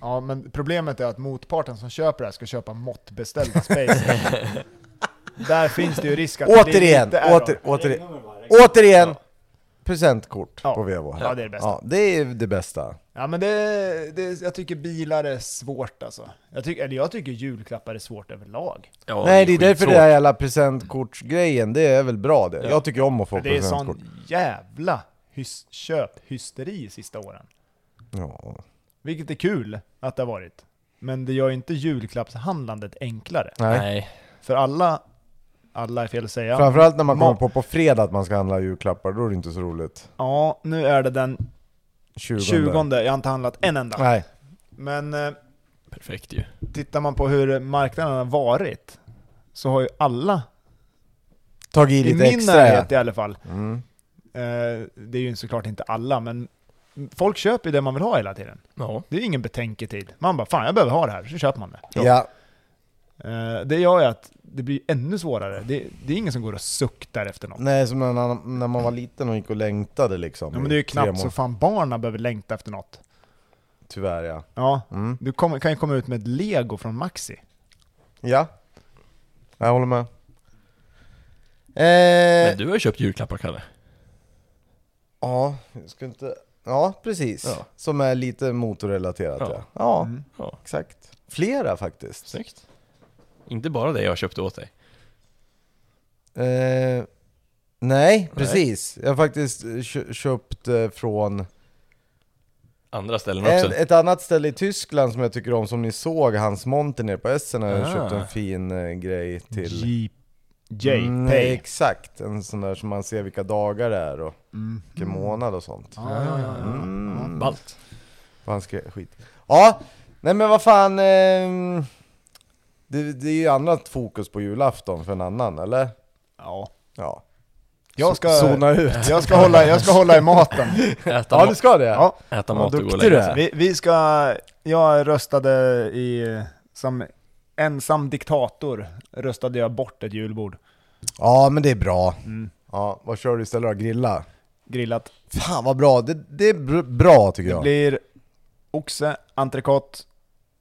[SPEAKER 2] ja, men problemet är att motparten som köper det här ska köpa måttbeställda spacers. Där finns det ju risk att det blir
[SPEAKER 1] Återigen,
[SPEAKER 2] lite error.
[SPEAKER 1] åter, återigen,
[SPEAKER 4] Regnummer bara. regnummer.
[SPEAKER 1] återigen! Presentkort
[SPEAKER 2] Ja.
[SPEAKER 1] på Vevo. här.
[SPEAKER 2] Ja, det är det bästa.
[SPEAKER 1] Ja, det är det bästa.
[SPEAKER 2] Ja, men det, det, jag tycker bilar är svårt alltså. Jag tycker, eller jag tycker julklappar är svårt överlag.
[SPEAKER 3] Ja,
[SPEAKER 1] Nej, det är därför
[SPEAKER 3] skitsvårt.
[SPEAKER 1] det här jävla presentkortsgrejen, det är väl bra det. Jag tycker om att få
[SPEAKER 2] För det är
[SPEAKER 1] presentkort.
[SPEAKER 2] sån jävla hys, köphysteri sista åren.
[SPEAKER 1] Ja.
[SPEAKER 2] Vilket är kul att det har varit. Men det gör ju inte julklappshandlandet enklare.
[SPEAKER 1] Nej.
[SPEAKER 3] Nej,
[SPEAKER 2] För alla, alla är fel att säga.
[SPEAKER 1] Framförallt när man kommer
[SPEAKER 2] Ma-
[SPEAKER 1] på på fredag att man ska handla julklappar, då är det inte så roligt.
[SPEAKER 2] Ja, nu är det den
[SPEAKER 1] 20.
[SPEAKER 2] 20. Jag har inte handlat en enda.
[SPEAKER 1] Nej.
[SPEAKER 2] Men eh,
[SPEAKER 3] Perfekt ju.
[SPEAKER 2] tittar man på hur marknaden har varit, så har ju alla,
[SPEAKER 1] Tag i
[SPEAKER 2] i
[SPEAKER 1] lite
[SPEAKER 2] min
[SPEAKER 1] extra. ja.
[SPEAKER 2] närhet i alla fall,
[SPEAKER 1] Mm.
[SPEAKER 2] eh, det är ju såklart inte alla, men folk köper ju det man vill ha hela tiden.
[SPEAKER 1] Eh.
[SPEAKER 3] Ja.
[SPEAKER 2] Det är ingen betänketid. Man bara, fan jag behöver ha det här, så köper man det.
[SPEAKER 1] Ja.
[SPEAKER 2] Eh, Det gör ju att det blir ännu svårare. Det, det är ingen som går och suktar efter något.
[SPEAKER 1] Nej, som när, man- när man var liten och gick och längtade liksom.
[SPEAKER 2] Ja, men
[SPEAKER 1] i
[SPEAKER 2] det är ju
[SPEAKER 1] tre
[SPEAKER 2] knappt så
[SPEAKER 1] månader.
[SPEAKER 2] fan barnen behöver längta efter något.
[SPEAKER 1] Tyvärr ja.
[SPEAKER 2] Ja,
[SPEAKER 1] Mm.
[SPEAKER 2] du kommer- kan ju komma ut med ett lego från Maxi.
[SPEAKER 1] Ja. Jag håller med. Eh,
[SPEAKER 3] Men du har ju köpt julklappar Kalle.
[SPEAKER 1] Ja, jag ska inte... Ja, precis.
[SPEAKER 3] Ja.
[SPEAKER 1] Som är lite motorrelaterat ja.
[SPEAKER 3] Ja.
[SPEAKER 1] Ja, ja
[SPEAKER 2] Mm.
[SPEAKER 3] Ja.
[SPEAKER 1] exakt. Flera faktiskt.
[SPEAKER 3] Snyggt. Inte bara det jag köpte åt dig.
[SPEAKER 1] Eh, nej, precis. Jag har faktiskt eh, kö- köpt eh, från
[SPEAKER 3] Andra ställen också.
[SPEAKER 1] en, ett annat ställe i Tyskland som jag tycker om, som ni såg, hans monter nere på Essen, har jag
[SPEAKER 3] Ah.
[SPEAKER 1] köpt en fin eh, grej till.
[SPEAKER 2] J- J-Pay.
[SPEAKER 1] Mm, nej, exakt, en sån där som man ser vilka dagar det är och
[SPEAKER 2] Mm.
[SPEAKER 1] vilken månad och sånt.
[SPEAKER 2] Ja, ja, ja, ja.
[SPEAKER 1] Mm.
[SPEAKER 3] Ballt.
[SPEAKER 1] Vad han skrev, skit. Ja, nej men vad fan. ehm, det, det är ju annat fokus på julafton för en annan, eller?
[SPEAKER 2] ja.
[SPEAKER 1] Ja.
[SPEAKER 2] Jag ska,
[SPEAKER 1] Zona ut.
[SPEAKER 2] jag, ska hålla, jag ska hålla i maten.
[SPEAKER 3] Äta,
[SPEAKER 1] Ja,
[SPEAKER 3] ma-
[SPEAKER 1] du ska det?
[SPEAKER 2] Ja,
[SPEAKER 3] äta
[SPEAKER 1] Vad
[SPEAKER 3] mat och gå och
[SPEAKER 1] duktig
[SPEAKER 3] lägga
[SPEAKER 1] du är.
[SPEAKER 2] vi,
[SPEAKER 3] sig.
[SPEAKER 2] vi ska... Jag röstade i... Som ensam diktator röstade jag bort ett julbord.
[SPEAKER 1] Ja, men det är bra.
[SPEAKER 2] Mm.
[SPEAKER 1] Ja, vad kör du istället då? Grilla?
[SPEAKER 2] Grillat.
[SPEAKER 1] Fan vad bra, det, det är br- bra tycker
[SPEAKER 2] Det
[SPEAKER 1] jag.
[SPEAKER 2] blir oxe, entrecote,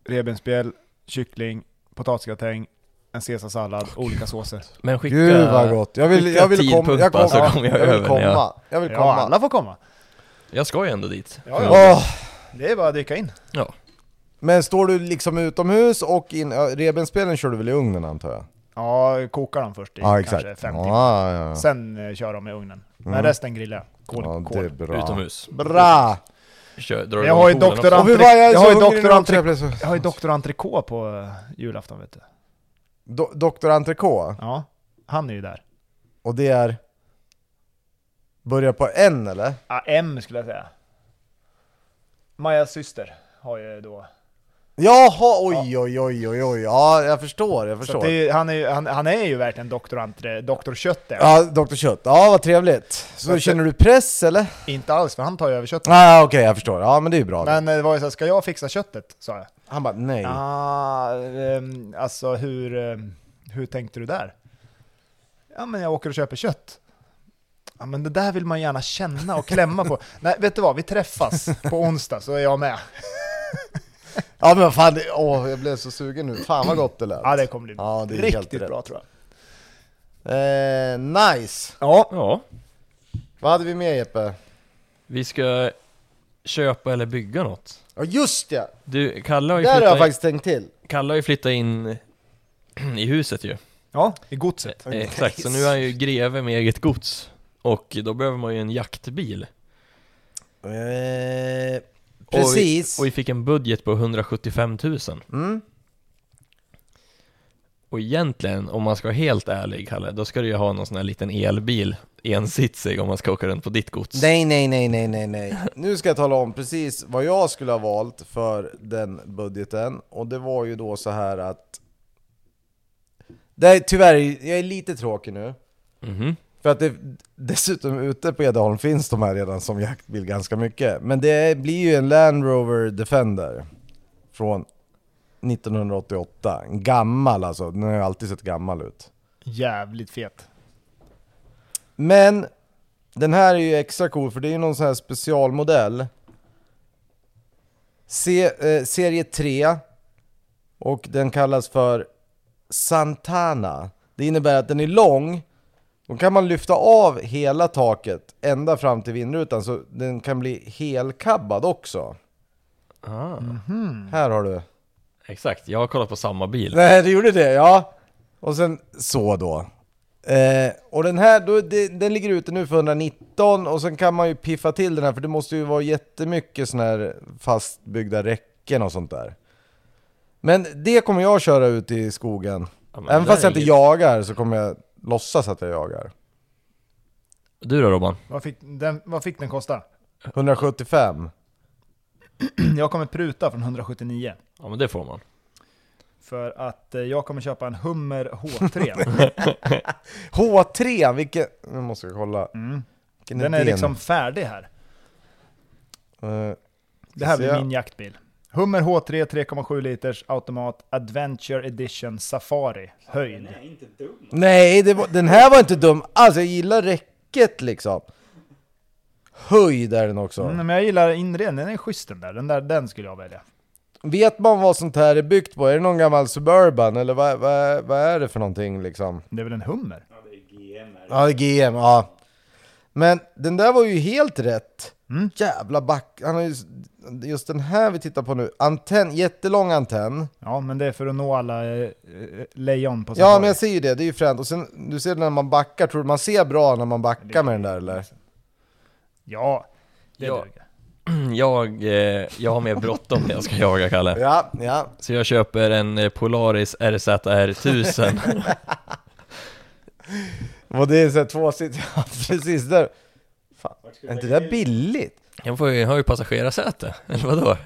[SPEAKER 2] revbensspjäll, kyckling, potatisgratäng, en caesarsallad, olika såser.
[SPEAKER 3] Men skicka...
[SPEAKER 1] Gud vad gott. Jag vill,
[SPEAKER 3] skicka
[SPEAKER 1] jag vill
[SPEAKER 3] tio
[SPEAKER 1] komma, jag
[SPEAKER 3] pumpar
[SPEAKER 1] kommer,
[SPEAKER 3] så kommer jag
[SPEAKER 1] jag vill
[SPEAKER 3] över när jag-
[SPEAKER 1] komma. Jag vill
[SPEAKER 2] Ja,
[SPEAKER 1] komma.
[SPEAKER 2] alla får komma.
[SPEAKER 3] Jag ska ju ändå dit.
[SPEAKER 2] Ja, ja.
[SPEAKER 1] Åh,
[SPEAKER 2] Det är bara att dyka in.
[SPEAKER 3] Ja.
[SPEAKER 1] men står du liksom utomhus och in, ja, rebenspelen kör du väl i ugnen antar jag?
[SPEAKER 2] Ja, kokar dem först i
[SPEAKER 1] Ja,
[SPEAKER 2] kanske
[SPEAKER 1] exakt.
[SPEAKER 2] fem
[SPEAKER 1] Ja,
[SPEAKER 2] timmar.
[SPEAKER 1] ja, ja.
[SPEAKER 2] Sen eh, kör de i ugnen. Men
[SPEAKER 1] Mm.
[SPEAKER 2] resten grillar jag. Kol,
[SPEAKER 1] ja, det är
[SPEAKER 2] kol.
[SPEAKER 1] bra.
[SPEAKER 3] Utomhus.
[SPEAKER 1] Bra!
[SPEAKER 3] Kör, drar
[SPEAKER 2] Jag
[SPEAKER 3] igång
[SPEAKER 2] har ju
[SPEAKER 3] poolen
[SPEAKER 2] doktor
[SPEAKER 3] också.
[SPEAKER 1] Och hur
[SPEAKER 2] Antrik-
[SPEAKER 1] var jag
[SPEAKER 2] jag
[SPEAKER 1] så
[SPEAKER 2] har ju
[SPEAKER 1] hungrig
[SPEAKER 2] doktor
[SPEAKER 1] nu
[SPEAKER 2] Antrik-
[SPEAKER 1] jag plötsligt-
[SPEAKER 2] Jag har ju Dr. Entrecote på eh, julafton vet du.
[SPEAKER 1] Do- Doktor Entrecote,
[SPEAKER 2] Ja, han är ju där.
[SPEAKER 1] och det är... Börjar på N eller?
[SPEAKER 2] Ah, M skulle jag säga. Majas syster har ju då...
[SPEAKER 1] Jaha, oj oj oj oj oj, ja jag förstår, jag
[SPEAKER 2] Så
[SPEAKER 1] förstår.
[SPEAKER 2] att det är, ju- han, är, ju- han, han är ju verkligen Dr. Antre, Dr. Kött är han.
[SPEAKER 1] Ja, Dr Kött, ja vad trevligt. Så
[SPEAKER 2] att det-
[SPEAKER 1] känner du press eller?
[SPEAKER 2] Inte alls, för han tar ju över köttet.
[SPEAKER 1] Nej ah, okej jag förstår, ja men det är ju bra.
[SPEAKER 2] Men eh, det var ju såhär, ska jag fixa köttet? sa jag.
[SPEAKER 1] Han bara nej.
[SPEAKER 2] Ah, ehm, alltså hur, ehm, hur tänkte du där? Ja men jag åker och köper kött. Ja men det där vill man gärna känna och klämma på. Nej vet du vad, vi träffas på onsdag så är jag med.
[SPEAKER 1] Ja men vad fan, det- åh jag blev så sugen nu. Fan vad gott det lät.
[SPEAKER 2] Ja det kommer bli
[SPEAKER 1] Ja, det är helt
[SPEAKER 2] riktigt
[SPEAKER 1] rätt.
[SPEAKER 2] bra tror jag.
[SPEAKER 1] Eh, nice!
[SPEAKER 2] Ja,
[SPEAKER 3] Ja.
[SPEAKER 1] Vad hade vi mer Jeppe?
[SPEAKER 3] Vi ska köpa eller bygga något.
[SPEAKER 1] Ja just det!
[SPEAKER 3] Du, Kalle har ju
[SPEAKER 1] Där har jag
[SPEAKER 3] flyttat in,
[SPEAKER 1] faktiskt tänkt till.
[SPEAKER 3] Kalle har ju flyttat in i huset ju.
[SPEAKER 2] ja i godset.
[SPEAKER 3] Eh, Exakt, så nu är han ju greve med eget gods. Och då behöver man ju en jaktbil.
[SPEAKER 1] Eh,
[SPEAKER 3] Och vi-
[SPEAKER 1] precis.
[SPEAKER 3] Och vi fick en budget på 175 000.
[SPEAKER 1] Mm.
[SPEAKER 3] Och egentligen, om man ska vara helt ärlig Kalle, då ska du ju ha någon sån här liten elbil, ensitsig, om man ska åka runt på ditt gods.
[SPEAKER 1] Nej, nej, nej, nej, nej, nej. Nu ska jag tala om precis vad jag skulle ha valt för den budgeten. Och det var ju då så här att... Det är, tyvärr, jag är lite tråkig nu.
[SPEAKER 3] Mhm.
[SPEAKER 1] För att det, dessutom ute på Edholm finns de här redan som jaktbil ganska mycket. Men det blir ju en Land Rover Defender från 1988. En gammal alltså, den har ju alltid sett gammal ut.
[SPEAKER 2] Jävligt fet.
[SPEAKER 1] Men den här är ju extra cool för det är ju någon sån här specialmodell. Se, eh, serie 3 och den kallas för Santana. Det innebär att den är lång. Då kan man lyfta av hela taket ända fram till vindrutan så den kan bli helkabbad också.
[SPEAKER 3] Ah,
[SPEAKER 1] Mm. Här har du.
[SPEAKER 3] Exakt, jag har kollat på samma bil.
[SPEAKER 1] Nej, det gjorde det, ja. Och sen så då. Eh, och den här, då, det, den ligger ute nu för 119 och sen kan man ju piffa till den här för det måste ju vara jättemycket sån här fastbyggda räcken och sånt där. Men det kommer jag köra ut i skogen.
[SPEAKER 3] Ja, men det
[SPEAKER 1] Även
[SPEAKER 3] där
[SPEAKER 1] fast
[SPEAKER 3] är
[SPEAKER 1] jag inte
[SPEAKER 3] inget-
[SPEAKER 1] jagar så kommer jag låtsas att jag jagar.
[SPEAKER 3] Du då Robban?
[SPEAKER 2] Vad fick den, vad fick den kosta?
[SPEAKER 1] 175.
[SPEAKER 2] Jag kommer pruta från 179.
[SPEAKER 3] Ja men det får man.
[SPEAKER 2] För att eh, jag kommer köpa en Hummer H3.
[SPEAKER 1] H3, vilken... Nu måste jag kolla.
[SPEAKER 2] Mm.
[SPEAKER 1] Vilken
[SPEAKER 2] Den är
[SPEAKER 1] din?
[SPEAKER 2] liksom färdig här.
[SPEAKER 1] Eh,
[SPEAKER 2] Det här
[SPEAKER 1] Ska
[SPEAKER 2] blir
[SPEAKER 1] se.
[SPEAKER 2] min jaktbil. Hummer H3 3,7 liters automat Adventure Edition Safari
[SPEAKER 4] Den
[SPEAKER 2] höjd.
[SPEAKER 4] är inte dum.
[SPEAKER 1] nej, det var, den här var inte dum alls. Jag gillar räcket liksom. Höjd är den också.
[SPEAKER 2] Mm, men jag gillar inredningen, den är schysst den där. Den, där, den skulle jag välja.
[SPEAKER 1] Vet man vad sånt här är byggt på? Är det någon gammal Suburban eller vad, vad, vad är det för någonting liksom?
[SPEAKER 2] Det är väl en Hummer?
[SPEAKER 4] Ja, det är GMR.
[SPEAKER 1] Ja, GM, ja. Men den där var ju helt rätt.
[SPEAKER 2] Mm.
[SPEAKER 1] Jävla back. Han har just, just den här vi tittar på nu. Antenn, jättelång antenn.
[SPEAKER 2] Ja, men det är för att nå alla eh, eh, lejon på
[SPEAKER 1] Ja,
[SPEAKER 2] safari.
[SPEAKER 1] men jag ser ju det. Det är ju fränt. Och sen, du ser när man backar. Tror du man ser bra när man backar med den där eller?
[SPEAKER 2] Ja, det
[SPEAKER 3] Ja.
[SPEAKER 2] duger.
[SPEAKER 3] Jag, eh, jag har mer bråttom när jag ska jaga Kalle.
[SPEAKER 1] Ja, ja.
[SPEAKER 3] Så jag köper en eh, Polaris RZR 1000.
[SPEAKER 1] Och det är så här tvåsitt- ja precis där.
[SPEAKER 4] Vart ska
[SPEAKER 1] Är
[SPEAKER 4] du
[SPEAKER 1] inte det där
[SPEAKER 4] lägga till?
[SPEAKER 1] billigt?
[SPEAKER 3] Den får ju, har ju passagerarsäte, eller vadå?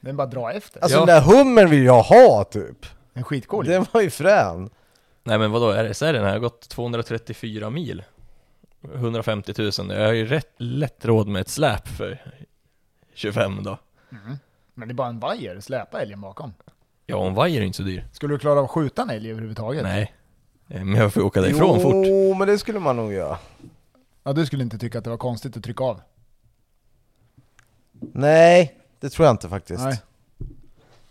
[SPEAKER 2] Den bara dra efter.
[SPEAKER 1] Alltså
[SPEAKER 3] Ja.
[SPEAKER 1] den där hummern vill jag ha typ.
[SPEAKER 2] En skitcool.
[SPEAKER 1] Den var ju frän.
[SPEAKER 3] Nej men vadå, RSR den här har gått 234 mil 150 000, jag har ju rätt lätt råd med ett släp för 25 då
[SPEAKER 2] Mm. Men det är bara en vajer, släpa älgen bakom.
[SPEAKER 3] Ja, en vajer är inte så dyr
[SPEAKER 2] Skulle du klara av att skjuta en älg överhuvudtaget?
[SPEAKER 3] Nej, Eh, men jag får åka därifrån fort
[SPEAKER 1] Jo, men det skulle man nog göra.
[SPEAKER 2] Ja, du skulle inte tycka att det var konstigt att trycka av?
[SPEAKER 1] Nej, det tror jag inte faktiskt.
[SPEAKER 2] Nej.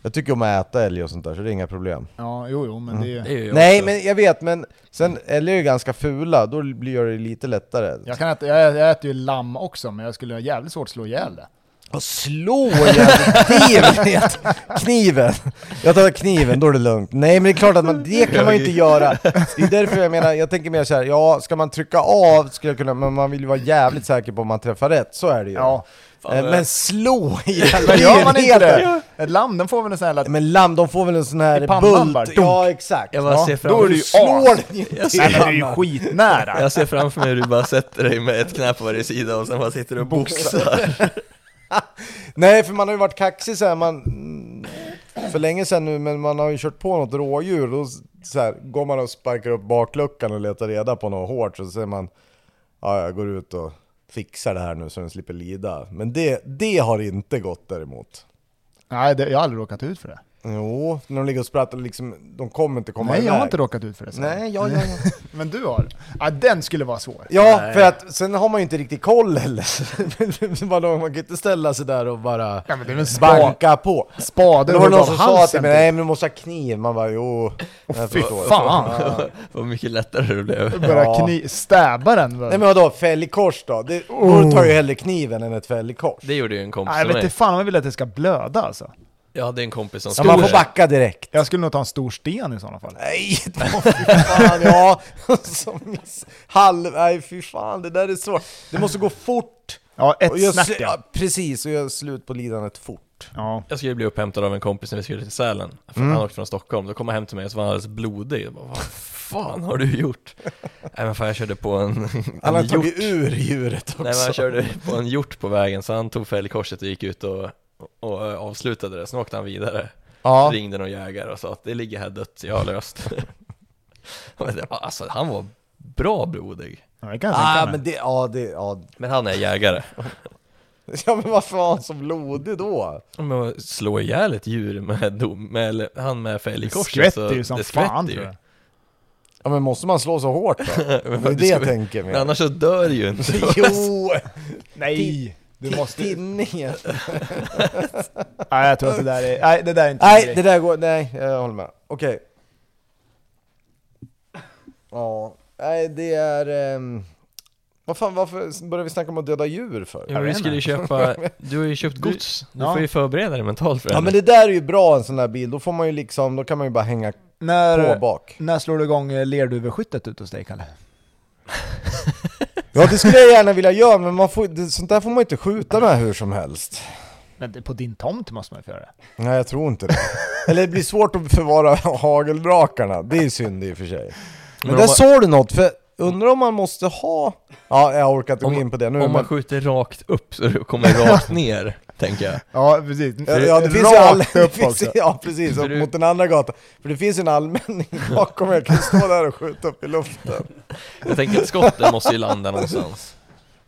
[SPEAKER 1] Jag tycker om att äta älg och sånt där, så det är inga problem.
[SPEAKER 2] Ja, jo, jo, men
[SPEAKER 1] Mm.
[SPEAKER 2] det är
[SPEAKER 3] Det
[SPEAKER 2] ju...
[SPEAKER 3] är ju jag
[SPEAKER 1] Nej,
[SPEAKER 3] också.
[SPEAKER 1] men jag vet, men sen älgar är ju ganska fula, då blir det lite lättare.
[SPEAKER 2] Jag, kan äta, jag, jag äter ju lamm också, men jag skulle ha jävligt svårt att slå ihjäl det.
[SPEAKER 1] Och slå igen kniven! Jag tar kniven, då är det lugnt. Nej men det är klart att man, det kan man ju inte göra. Det är därför jag menar, jag tänker mer såhär, ja ska man trycka av skulle jag kunna, men man vill ju vara jävligt säker på om man träffar rätt, så är det ju.
[SPEAKER 2] Ja,
[SPEAKER 3] Fan,
[SPEAKER 1] Eh,
[SPEAKER 3] vad-
[SPEAKER 1] Men slå ihjäl
[SPEAKER 2] men gör
[SPEAKER 1] det är
[SPEAKER 2] man inte
[SPEAKER 1] helt-
[SPEAKER 2] det? Ett lamm, den får väl en sån här... lilla-
[SPEAKER 1] Men lamm, de får väl en sån här
[SPEAKER 2] I pannan
[SPEAKER 1] bult?
[SPEAKER 2] bara, dunk.
[SPEAKER 1] ja exakt.
[SPEAKER 3] Jag bara
[SPEAKER 1] ja.
[SPEAKER 3] ser framför
[SPEAKER 1] då är det
[SPEAKER 3] mig
[SPEAKER 1] ju
[SPEAKER 2] slår
[SPEAKER 1] as.
[SPEAKER 2] den ju
[SPEAKER 3] Jag
[SPEAKER 2] Nej, men det
[SPEAKER 3] ser,
[SPEAKER 2] är ju skitnära!
[SPEAKER 3] jag ser framför mig hur du bara sätter dig med ett knä på varje sida och sen bara sitter du och boxar
[SPEAKER 1] Nej för man har ju varit kaxig så här, man för länge sedan nu men man har ju kört på något rådjur och då s- så här, går man och sparkar upp bakluckan och letar reda på något hårt så säger man ja jag går ut och fixar det här nu så den slipper lida. Men det, det har inte gått däremot.
[SPEAKER 2] Nej, det, jag har aldrig råkat ut för det.
[SPEAKER 1] Jo, när de ligger och sprattlar liksom, de kommer inte komma
[SPEAKER 2] Nej,
[SPEAKER 1] iväg.
[SPEAKER 2] jag har inte råkat ut för det. så.
[SPEAKER 1] Nej, ja, ja, ja.
[SPEAKER 2] Men du har? Ja, den skulle vara svår.
[SPEAKER 1] Ja,
[SPEAKER 3] Nej.
[SPEAKER 1] för att sen har man ju inte riktigt koll heller. Vadå, man kan ju inte ställa sig där och bara
[SPEAKER 2] Ja, men det är väl spa,
[SPEAKER 1] banka på.
[SPEAKER 2] spade
[SPEAKER 1] Det var
[SPEAKER 2] hugga
[SPEAKER 1] någon
[SPEAKER 2] av
[SPEAKER 1] som sa till
[SPEAKER 2] halsen. typ.
[SPEAKER 1] mig, nej men du måste ha kniv. Man bara, jo, jag
[SPEAKER 2] Fy
[SPEAKER 1] förstår.
[SPEAKER 2] fan!
[SPEAKER 3] Vad mycket lättare det blev
[SPEAKER 2] Börja
[SPEAKER 1] Ja.
[SPEAKER 2] kni- stäba den.
[SPEAKER 1] Nej
[SPEAKER 2] väl?
[SPEAKER 1] men vadå, fälgkors då? Det, Då tar ju hellre kniven än ett fälgkors.
[SPEAKER 3] Det gjorde ju en kompis
[SPEAKER 2] Nej, jag
[SPEAKER 3] till
[SPEAKER 2] vet inte
[SPEAKER 3] mig
[SPEAKER 2] fan om jag vill att det ska blöda alltså.
[SPEAKER 3] Jag hade en kompis som
[SPEAKER 1] Ja, man får
[SPEAKER 3] skulle-
[SPEAKER 1] backa direkt.
[SPEAKER 2] Jag skulle nog ta en stor sten i sådana fall.
[SPEAKER 1] Nej, då, fy fan ja. Som miss, halv, nej fy fan det där är svårt. Det måste gå fort.
[SPEAKER 2] Ja,
[SPEAKER 1] Och
[SPEAKER 2] ett
[SPEAKER 1] jag,
[SPEAKER 2] snärt
[SPEAKER 1] sl-
[SPEAKER 2] ja.
[SPEAKER 1] ja, precis, och göra slut på lidandet fort.
[SPEAKER 2] ja.
[SPEAKER 3] Jag skulle bli upphämtad av en kompis när vi skulle till Sälen För Han åkte från Stockholm, då kom han hem till mig och så var han alldeles blodig jag bara, Vad fan har du gjort? Nej men fan jag körde på en,
[SPEAKER 1] Han
[SPEAKER 3] en
[SPEAKER 1] har
[SPEAKER 3] hjort
[SPEAKER 1] tagit ur djuret också.
[SPEAKER 3] Nej men han körde på en hjort på vägen så han tog fälgkorset och gick ut och, och eh, avslutade det, sen åkte han vidare
[SPEAKER 1] ja.
[SPEAKER 3] Ringde någon jägare och sa att det ligger här dött, jag har löst Men det var- Alltså han var bra blodig
[SPEAKER 2] ja det kan jag tänka
[SPEAKER 1] Ah,
[SPEAKER 2] mig.
[SPEAKER 1] men det, ja, det, ja.
[SPEAKER 3] Men han är jägare
[SPEAKER 1] ja men varför var han så blodig då?
[SPEAKER 3] Men slå ihjäl ett djur med, dom, med eller, han med
[SPEAKER 2] Det
[SPEAKER 3] fälgkorset så
[SPEAKER 2] skvätter ju som
[SPEAKER 3] det skvätter
[SPEAKER 2] fan
[SPEAKER 3] ju.
[SPEAKER 2] tror jag.
[SPEAKER 1] Ja men måste man slå så hårt då?
[SPEAKER 3] Men
[SPEAKER 1] Det är
[SPEAKER 3] du
[SPEAKER 1] det
[SPEAKER 3] ska
[SPEAKER 1] jag
[SPEAKER 3] väl-
[SPEAKER 1] tänker
[SPEAKER 3] Men
[SPEAKER 1] med.
[SPEAKER 3] annars så dör ju inte
[SPEAKER 1] Jo!
[SPEAKER 2] Nej! Du måste...
[SPEAKER 1] Tinningen.
[SPEAKER 2] Nej, jag tror att det där är... Nej, det där är inte min
[SPEAKER 1] Nej
[SPEAKER 2] grej.
[SPEAKER 1] det där går, nej jag håller med. Okej. Ja, nej det är... ehm, vad fan varför börjar vi snacka om att döda djur för?
[SPEAKER 3] Ja, men vi skulle ju köpa, du har ju köpt gods, du
[SPEAKER 2] Ja.
[SPEAKER 3] får ju förbereda dig mentalt för det.
[SPEAKER 1] Ja men det där är ju bra en sån där bil, då får man ju liksom, då kan man ju bara hänga på
[SPEAKER 2] När,
[SPEAKER 1] bak.
[SPEAKER 2] när slår du igång eh, lerduveskyttet ute hos dig, Kalle?
[SPEAKER 1] Ja det skulle jag gärna vilja göra men man får, det, sånt där får man ju inte skjuta med hur som helst.
[SPEAKER 2] Men det- på din tomt måste man ju få göra det.
[SPEAKER 1] Nej jag tror inte det. Eller det blir svårt att förvara hagelbrakarna, det är synd i och för sig. Men,
[SPEAKER 3] Men om
[SPEAKER 1] där
[SPEAKER 3] man-
[SPEAKER 1] såg du något, för undrar om man måste ha... Ja jag orkar inte
[SPEAKER 3] Om-
[SPEAKER 1] gå in på det nu
[SPEAKER 3] Om man
[SPEAKER 1] men...
[SPEAKER 3] skjuter rakt upp så det kommer rakt ner, tänker jag.
[SPEAKER 2] Ja, precis.
[SPEAKER 1] Ja, ja, det finns ju all...
[SPEAKER 2] Rakt
[SPEAKER 1] det
[SPEAKER 2] upp
[SPEAKER 1] finns,
[SPEAKER 2] också.
[SPEAKER 1] ja precis,
[SPEAKER 3] För
[SPEAKER 1] upp
[SPEAKER 3] du-
[SPEAKER 1] mot den andra gatan. För det finns ju en allmänning bakom, jag kan stå där och skjuta upp i luften.
[SPEAKER 3] Jag tänker att skotten måste ju landa någonstans.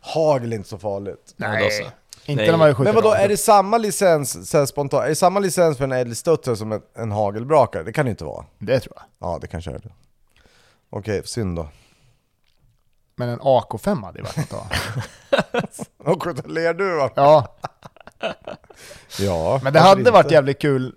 [SPEAKER 1] Hagel är inte så farligt.
[SPEAKER 3] Ja,
[SPEAKER 2] Nej.
[SPEAKER 3] då så.
[SPEAKER 2] Inte
[SPEAKER 3] Nej.
[SPEAKER 2] när man skjuter
[SPEAKER 1] Men vadå,
[SPEAKER 2] rakt
[SPEAKER 1] är
[SPEAKER 2] upp.
[SPEAKER 1] det samma licens, så här spontant, är det samma licens för en ädelstudsare som en, en hagelbrakare? Det kan det ju inte vara.
[SPEAKER 2] Det tror jag.
[SPEAKER 1] Ja det kanske är det. Okej, synd då.
[SPEAKER 2] Men en AK5 hade ju varit något att ha.
[SPEAKER 1] Och skjuta lerduva.
[SPEAKER 2] Ja,
[SPEAKER 1] Ja,
[SPEAKER 2] men det
[SPEAKER 1] varför
[SPEAKER 2] hade
[SPEAKER 1] inte?
[SPEAKER 2] varit jävligt kul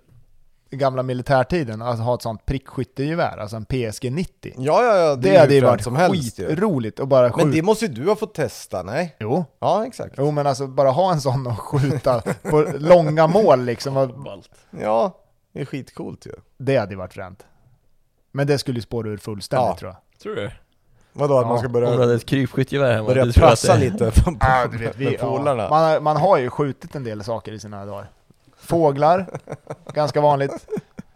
[SPEAKER 2] i gamla militärtiden att ha ett sånt prickskyttegevär, alltså en PSG 90.
[SPEAKER 1] Ja, ja, ja.
[SPEAKER 2] Det,
[SPEAKER 1] Mm. är
[SPEAKER 2] hade ju
[SPEAKER 1] hur fränt
[SPEAKER 2] varit
[SPEAKER 1] ju.
[SPEAKER 2] skitroligt att bara skjuta.
[SPEAKER 1] Men det måste ju du ha fått testa, nej?
[SPEAKER 2] Jo.
[SPEAKER 1] Ja, exakt.
[SPEAKER 2] Jo men alltså bara ha en sån och skjuta på långa mål liksom. vad-
[SPEAKER 3] Ballt.
[SPEAKER 1] Ja, det är skitcoolt ju.
[SPEAKER 2] Det hade ju varit fränt. Men det skulle ju spåra ur fullständigt
[SPEAKER 1] Ja.
[SPEAKER 2] tror jag.
[SPEAKER 3] Tror du?
[SPEAKER 1] Vadå, att
[SPEAKER 2] Ja,
[SPEAKER 1] man ska
[SPEAKER 3] Om du hade
[SPEAKER 1] börja,
[SPEAKER 3] ett krypskyttegevär hemma,
[SPEAKER 1] börja
[SPEAKER 3] du tror att
[SPEAKER 1] prassa
[SPEAKER 3] det-
[SPEAKER 1] lite på, på,
[SPEAKER 2] Ja, du vet, vi,
[SPEAKER 1] med polarna?
[SPEAKER 2] ja. man, har- man har ju skjutit en del saker i sina dagar. Fåglar, ganska vanligt.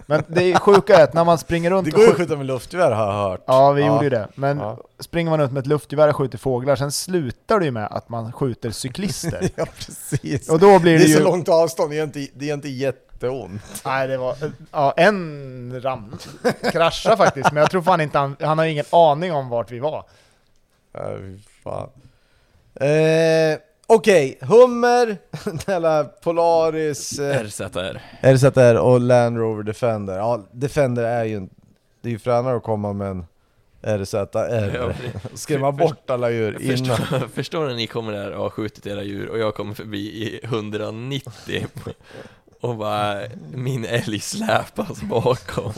[SPEAKER 2] Men det är sjuka är att när man springer runt
[SPEAKER 1] Det går ju
[SPEAKER 2] och
[SPEAKER 1] att skjuta med luftgevär har jag hört.
[SPEAKER 2] Ja, vi
[SPEAKER 1] Ja.
[SPEAKER 2] gjorde ju det. Men
[SPEAKER 1] Ja.
[SPEAKER 2] springer man ut med ett luftgevär och skjuter fåglar, sen slutar det ju med att man skjuter cyklister.
[SPEAKER 1] Ja, precis.
[SPEAKER 2] och då
[SPEAKER 1] Det
[SPEAKER 2] blir det,
[SPEAKER 1] är så
[SPEAKER 2] ju...
[SPEAKER 1] långt avstånd, det gör inte, det gör inte jätteont.
[SPEAKER 2] Nej, det var... Ja, en ram... kraschade faktiskt, men jag tror fan inte han... Han har ingen aning om vart vi var.
[SPEAKER 1] Äh, fy fan. Eh, Okej, Hummer, eller Polaris, eh,
[SPEAKER 3] RZR.
[SPEAKER 1] RZR och Land Rover Defender. Ja, Defender är ju en, det är ju fränare att komma med en
[SPEAKER 3] Ja,
[SPEAKER 1] RZR.
[SPEAKER 3] för-
[SPEAKER 1] Skrämma bort alla djur innan.
[SPEAKER 3] Förstår, förstår när ni kommer där och har skjutit era djur och jag kommer förbi i 190 och bara min älg släpas bakom.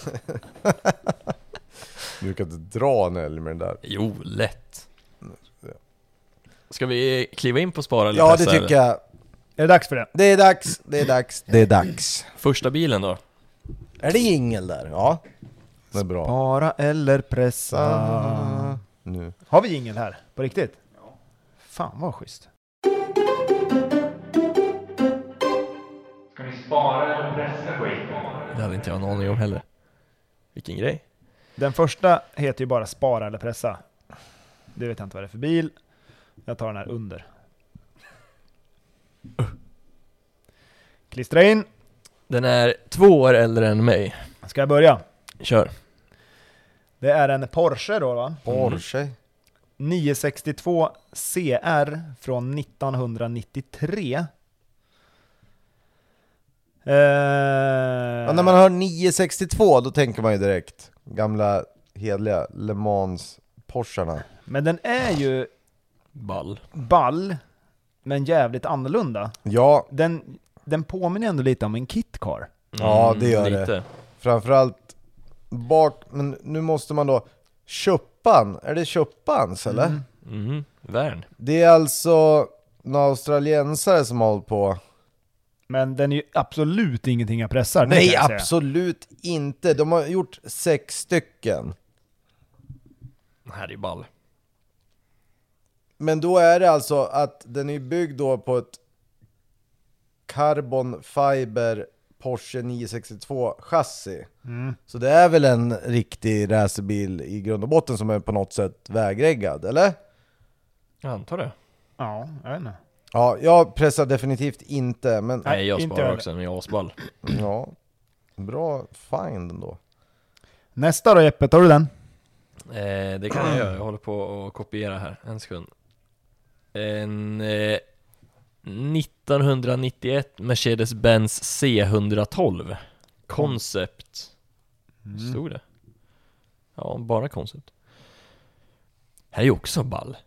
[SPEAKER 1] Du kan inte dra en älg med den där.
[SPEAKER 3] Jo, lätt. Ska vi kliva in på spara eller
[SPEAKER 1] Ja, det
[SPEAKER 3] pressa,
[SPEAKER 1] tycker
[SPEAKER 3] eller?
[SPEAKER 1] jag.
[SPEAKER 2] Är det dags för det?
[SPEAKER 1] Det är dags, det är dags, det är dags.
[SPEAKER 3] Första bilen då?
[SPEAKER 1] Är det jingel där? Ja. Det är bra.
[SPEAKER 2] Bara eller
[SPEAKER 1] Ah, Nu.
[SPEAKER 2] Har vi jingel här? På riktigt?
[SPEAKER 4] Ja.
[SPEAKER 2] Fan vad schysst.
[SPEAKER 5] Ska ni spara eller pressa skiten?
[SPEAKER 3] Det hade inte jag en aning om heller. Vilken grej.
[SPEAKER 2] Den första heter ju bara spara eller pressa. Det vet jag inte vad det är för bil. Jag tar den här under. Klistra in.
[SPEAKER 3] Den är två år äldre än mig.
[SPEAKER 2] Ska jag börja?
[SPEAKER 3] Kör.
[SPEAKER 2] Det är en Porsche då va?
[SPEAKER 1] Porsche.
[SPEAKER 2] 962 CR från 1993. Eh,
[SPEAKER 1] Ja, när man hör 962 då tänker man ju direkt gamla hedliga Le Mans Porscharna.
[SPEAKER 2] Men den är ju
[SPEAKER 3] Ball.
[SPEAKER 2] ball, men jävligt annorlunda.
[SPEAKER 1] Ja,
[SPEAKER 2] Den, den påminner ändå lite om en kitcar.
[SPEAKER 1] Ja, det gör det.
[SPEAKER 3] Mm, lite.
[SPEAKER 1] framförallt bak, men nu måste man då Köppan, är det Köppans eller?
[SPEAKER 3] Mm. Värn.
[SPEAKER 1] Det är alltså några australiensare som har hållit på
[SPEAKER 2] Men den är ju absolut ingenting jag pressar. det kan
[SPEAKER 1] Nej
[SPEAKER 2] jag säga.
[SPEAKER 1] absolut inte, de har gjort sex stycken
[SPEAKER 3] Den här är ball.
[SPEAKER 1] Men då är det alltså att den är byggd då på ett Carbon Fiber Porsche 962 chassi.
[SPEAKER 2] Mm.
[SPEAKER 1] Så det är väl en riktig racerbil i grund och botten som är på något sätt vägreggad, eller?
[SPEAKER 3] Jag antar det.
[SPEAKER 2] Ja, jag vet inte.
[SPEAKER 1] Ja, jag pressar definitivt inte, men
[SPEAKER 3] Nej, jag
[SPEAKER 2] inte
[SPEAKER 3] sparar
[SPEAKER 2] jag.
[SPEAKER 3] också, men jag är asball.
[SPEAKER 1] ja. Bra find ändå.
[SPEAKER 2] Nästa då Jeppe, tar du den?
[SPEAKER 3] Eh, det kan jag göra, jag håller på att kopiera här, en sekund. En eh, 1991 Mercedes-Benz C112 Concept
[SPEAKER 1] Mm.
[SPEAKER 3] Stod det? Ja, bara Concept Här är ju också ball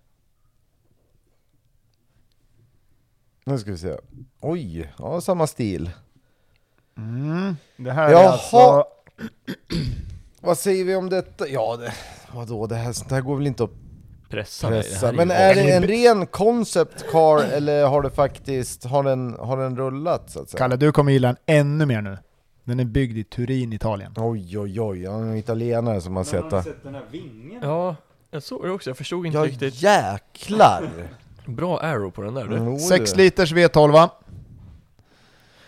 [SPEAKER 1] Nu ska vi se. Oj, ja samma stil.
[SPEAKER 2] Det här
[SPEAKER 1] Jaha.
[SPEAKER 2] är alltså...
[SPEAKER 1] Vad säger vi om detta? Ja, det, vadå, det här, sånt här går väl inte att
[SPEAKER 3] Pressa, mig, det här
[SPEAKER 1] pressa.
[SPEAKER 3] ju
[SPEAKER 1] Men är det en
[SPEAKER 3] asball.
[SPEAKER 1] ren concept car eller har det faktiskt, har den, har den rullat så att säga?
[SPEAKER 2] Kalle, du kommer gilla den ännu mer nu. Den är byggd i Turin, Italien.
[SPEAKER 1] Oj oj oj, han är en italienare som har
[SPEAKER 4] Men
[SPEAKER 1] sett
[SPEAKER 4] har ni
[SPEAKER 1] det.
[SPEAKER 4] sett den här vingen?
[SPEAKER 3] Ja, jag såg det också, jag förstod inte
[SPEAKER 1] Ja
[SPEAKER 3] riktigt
[SPEAKER 1] jäklar! Mm.
[SPEAKER 3] Bra arrow på den där du
[SPEAKER 1] Jo,
[SPEAKER 2] Sex
[SPEAKER 1] du.
[SPEAKER 2] liters V12.
[SPEAKER 1] Bra,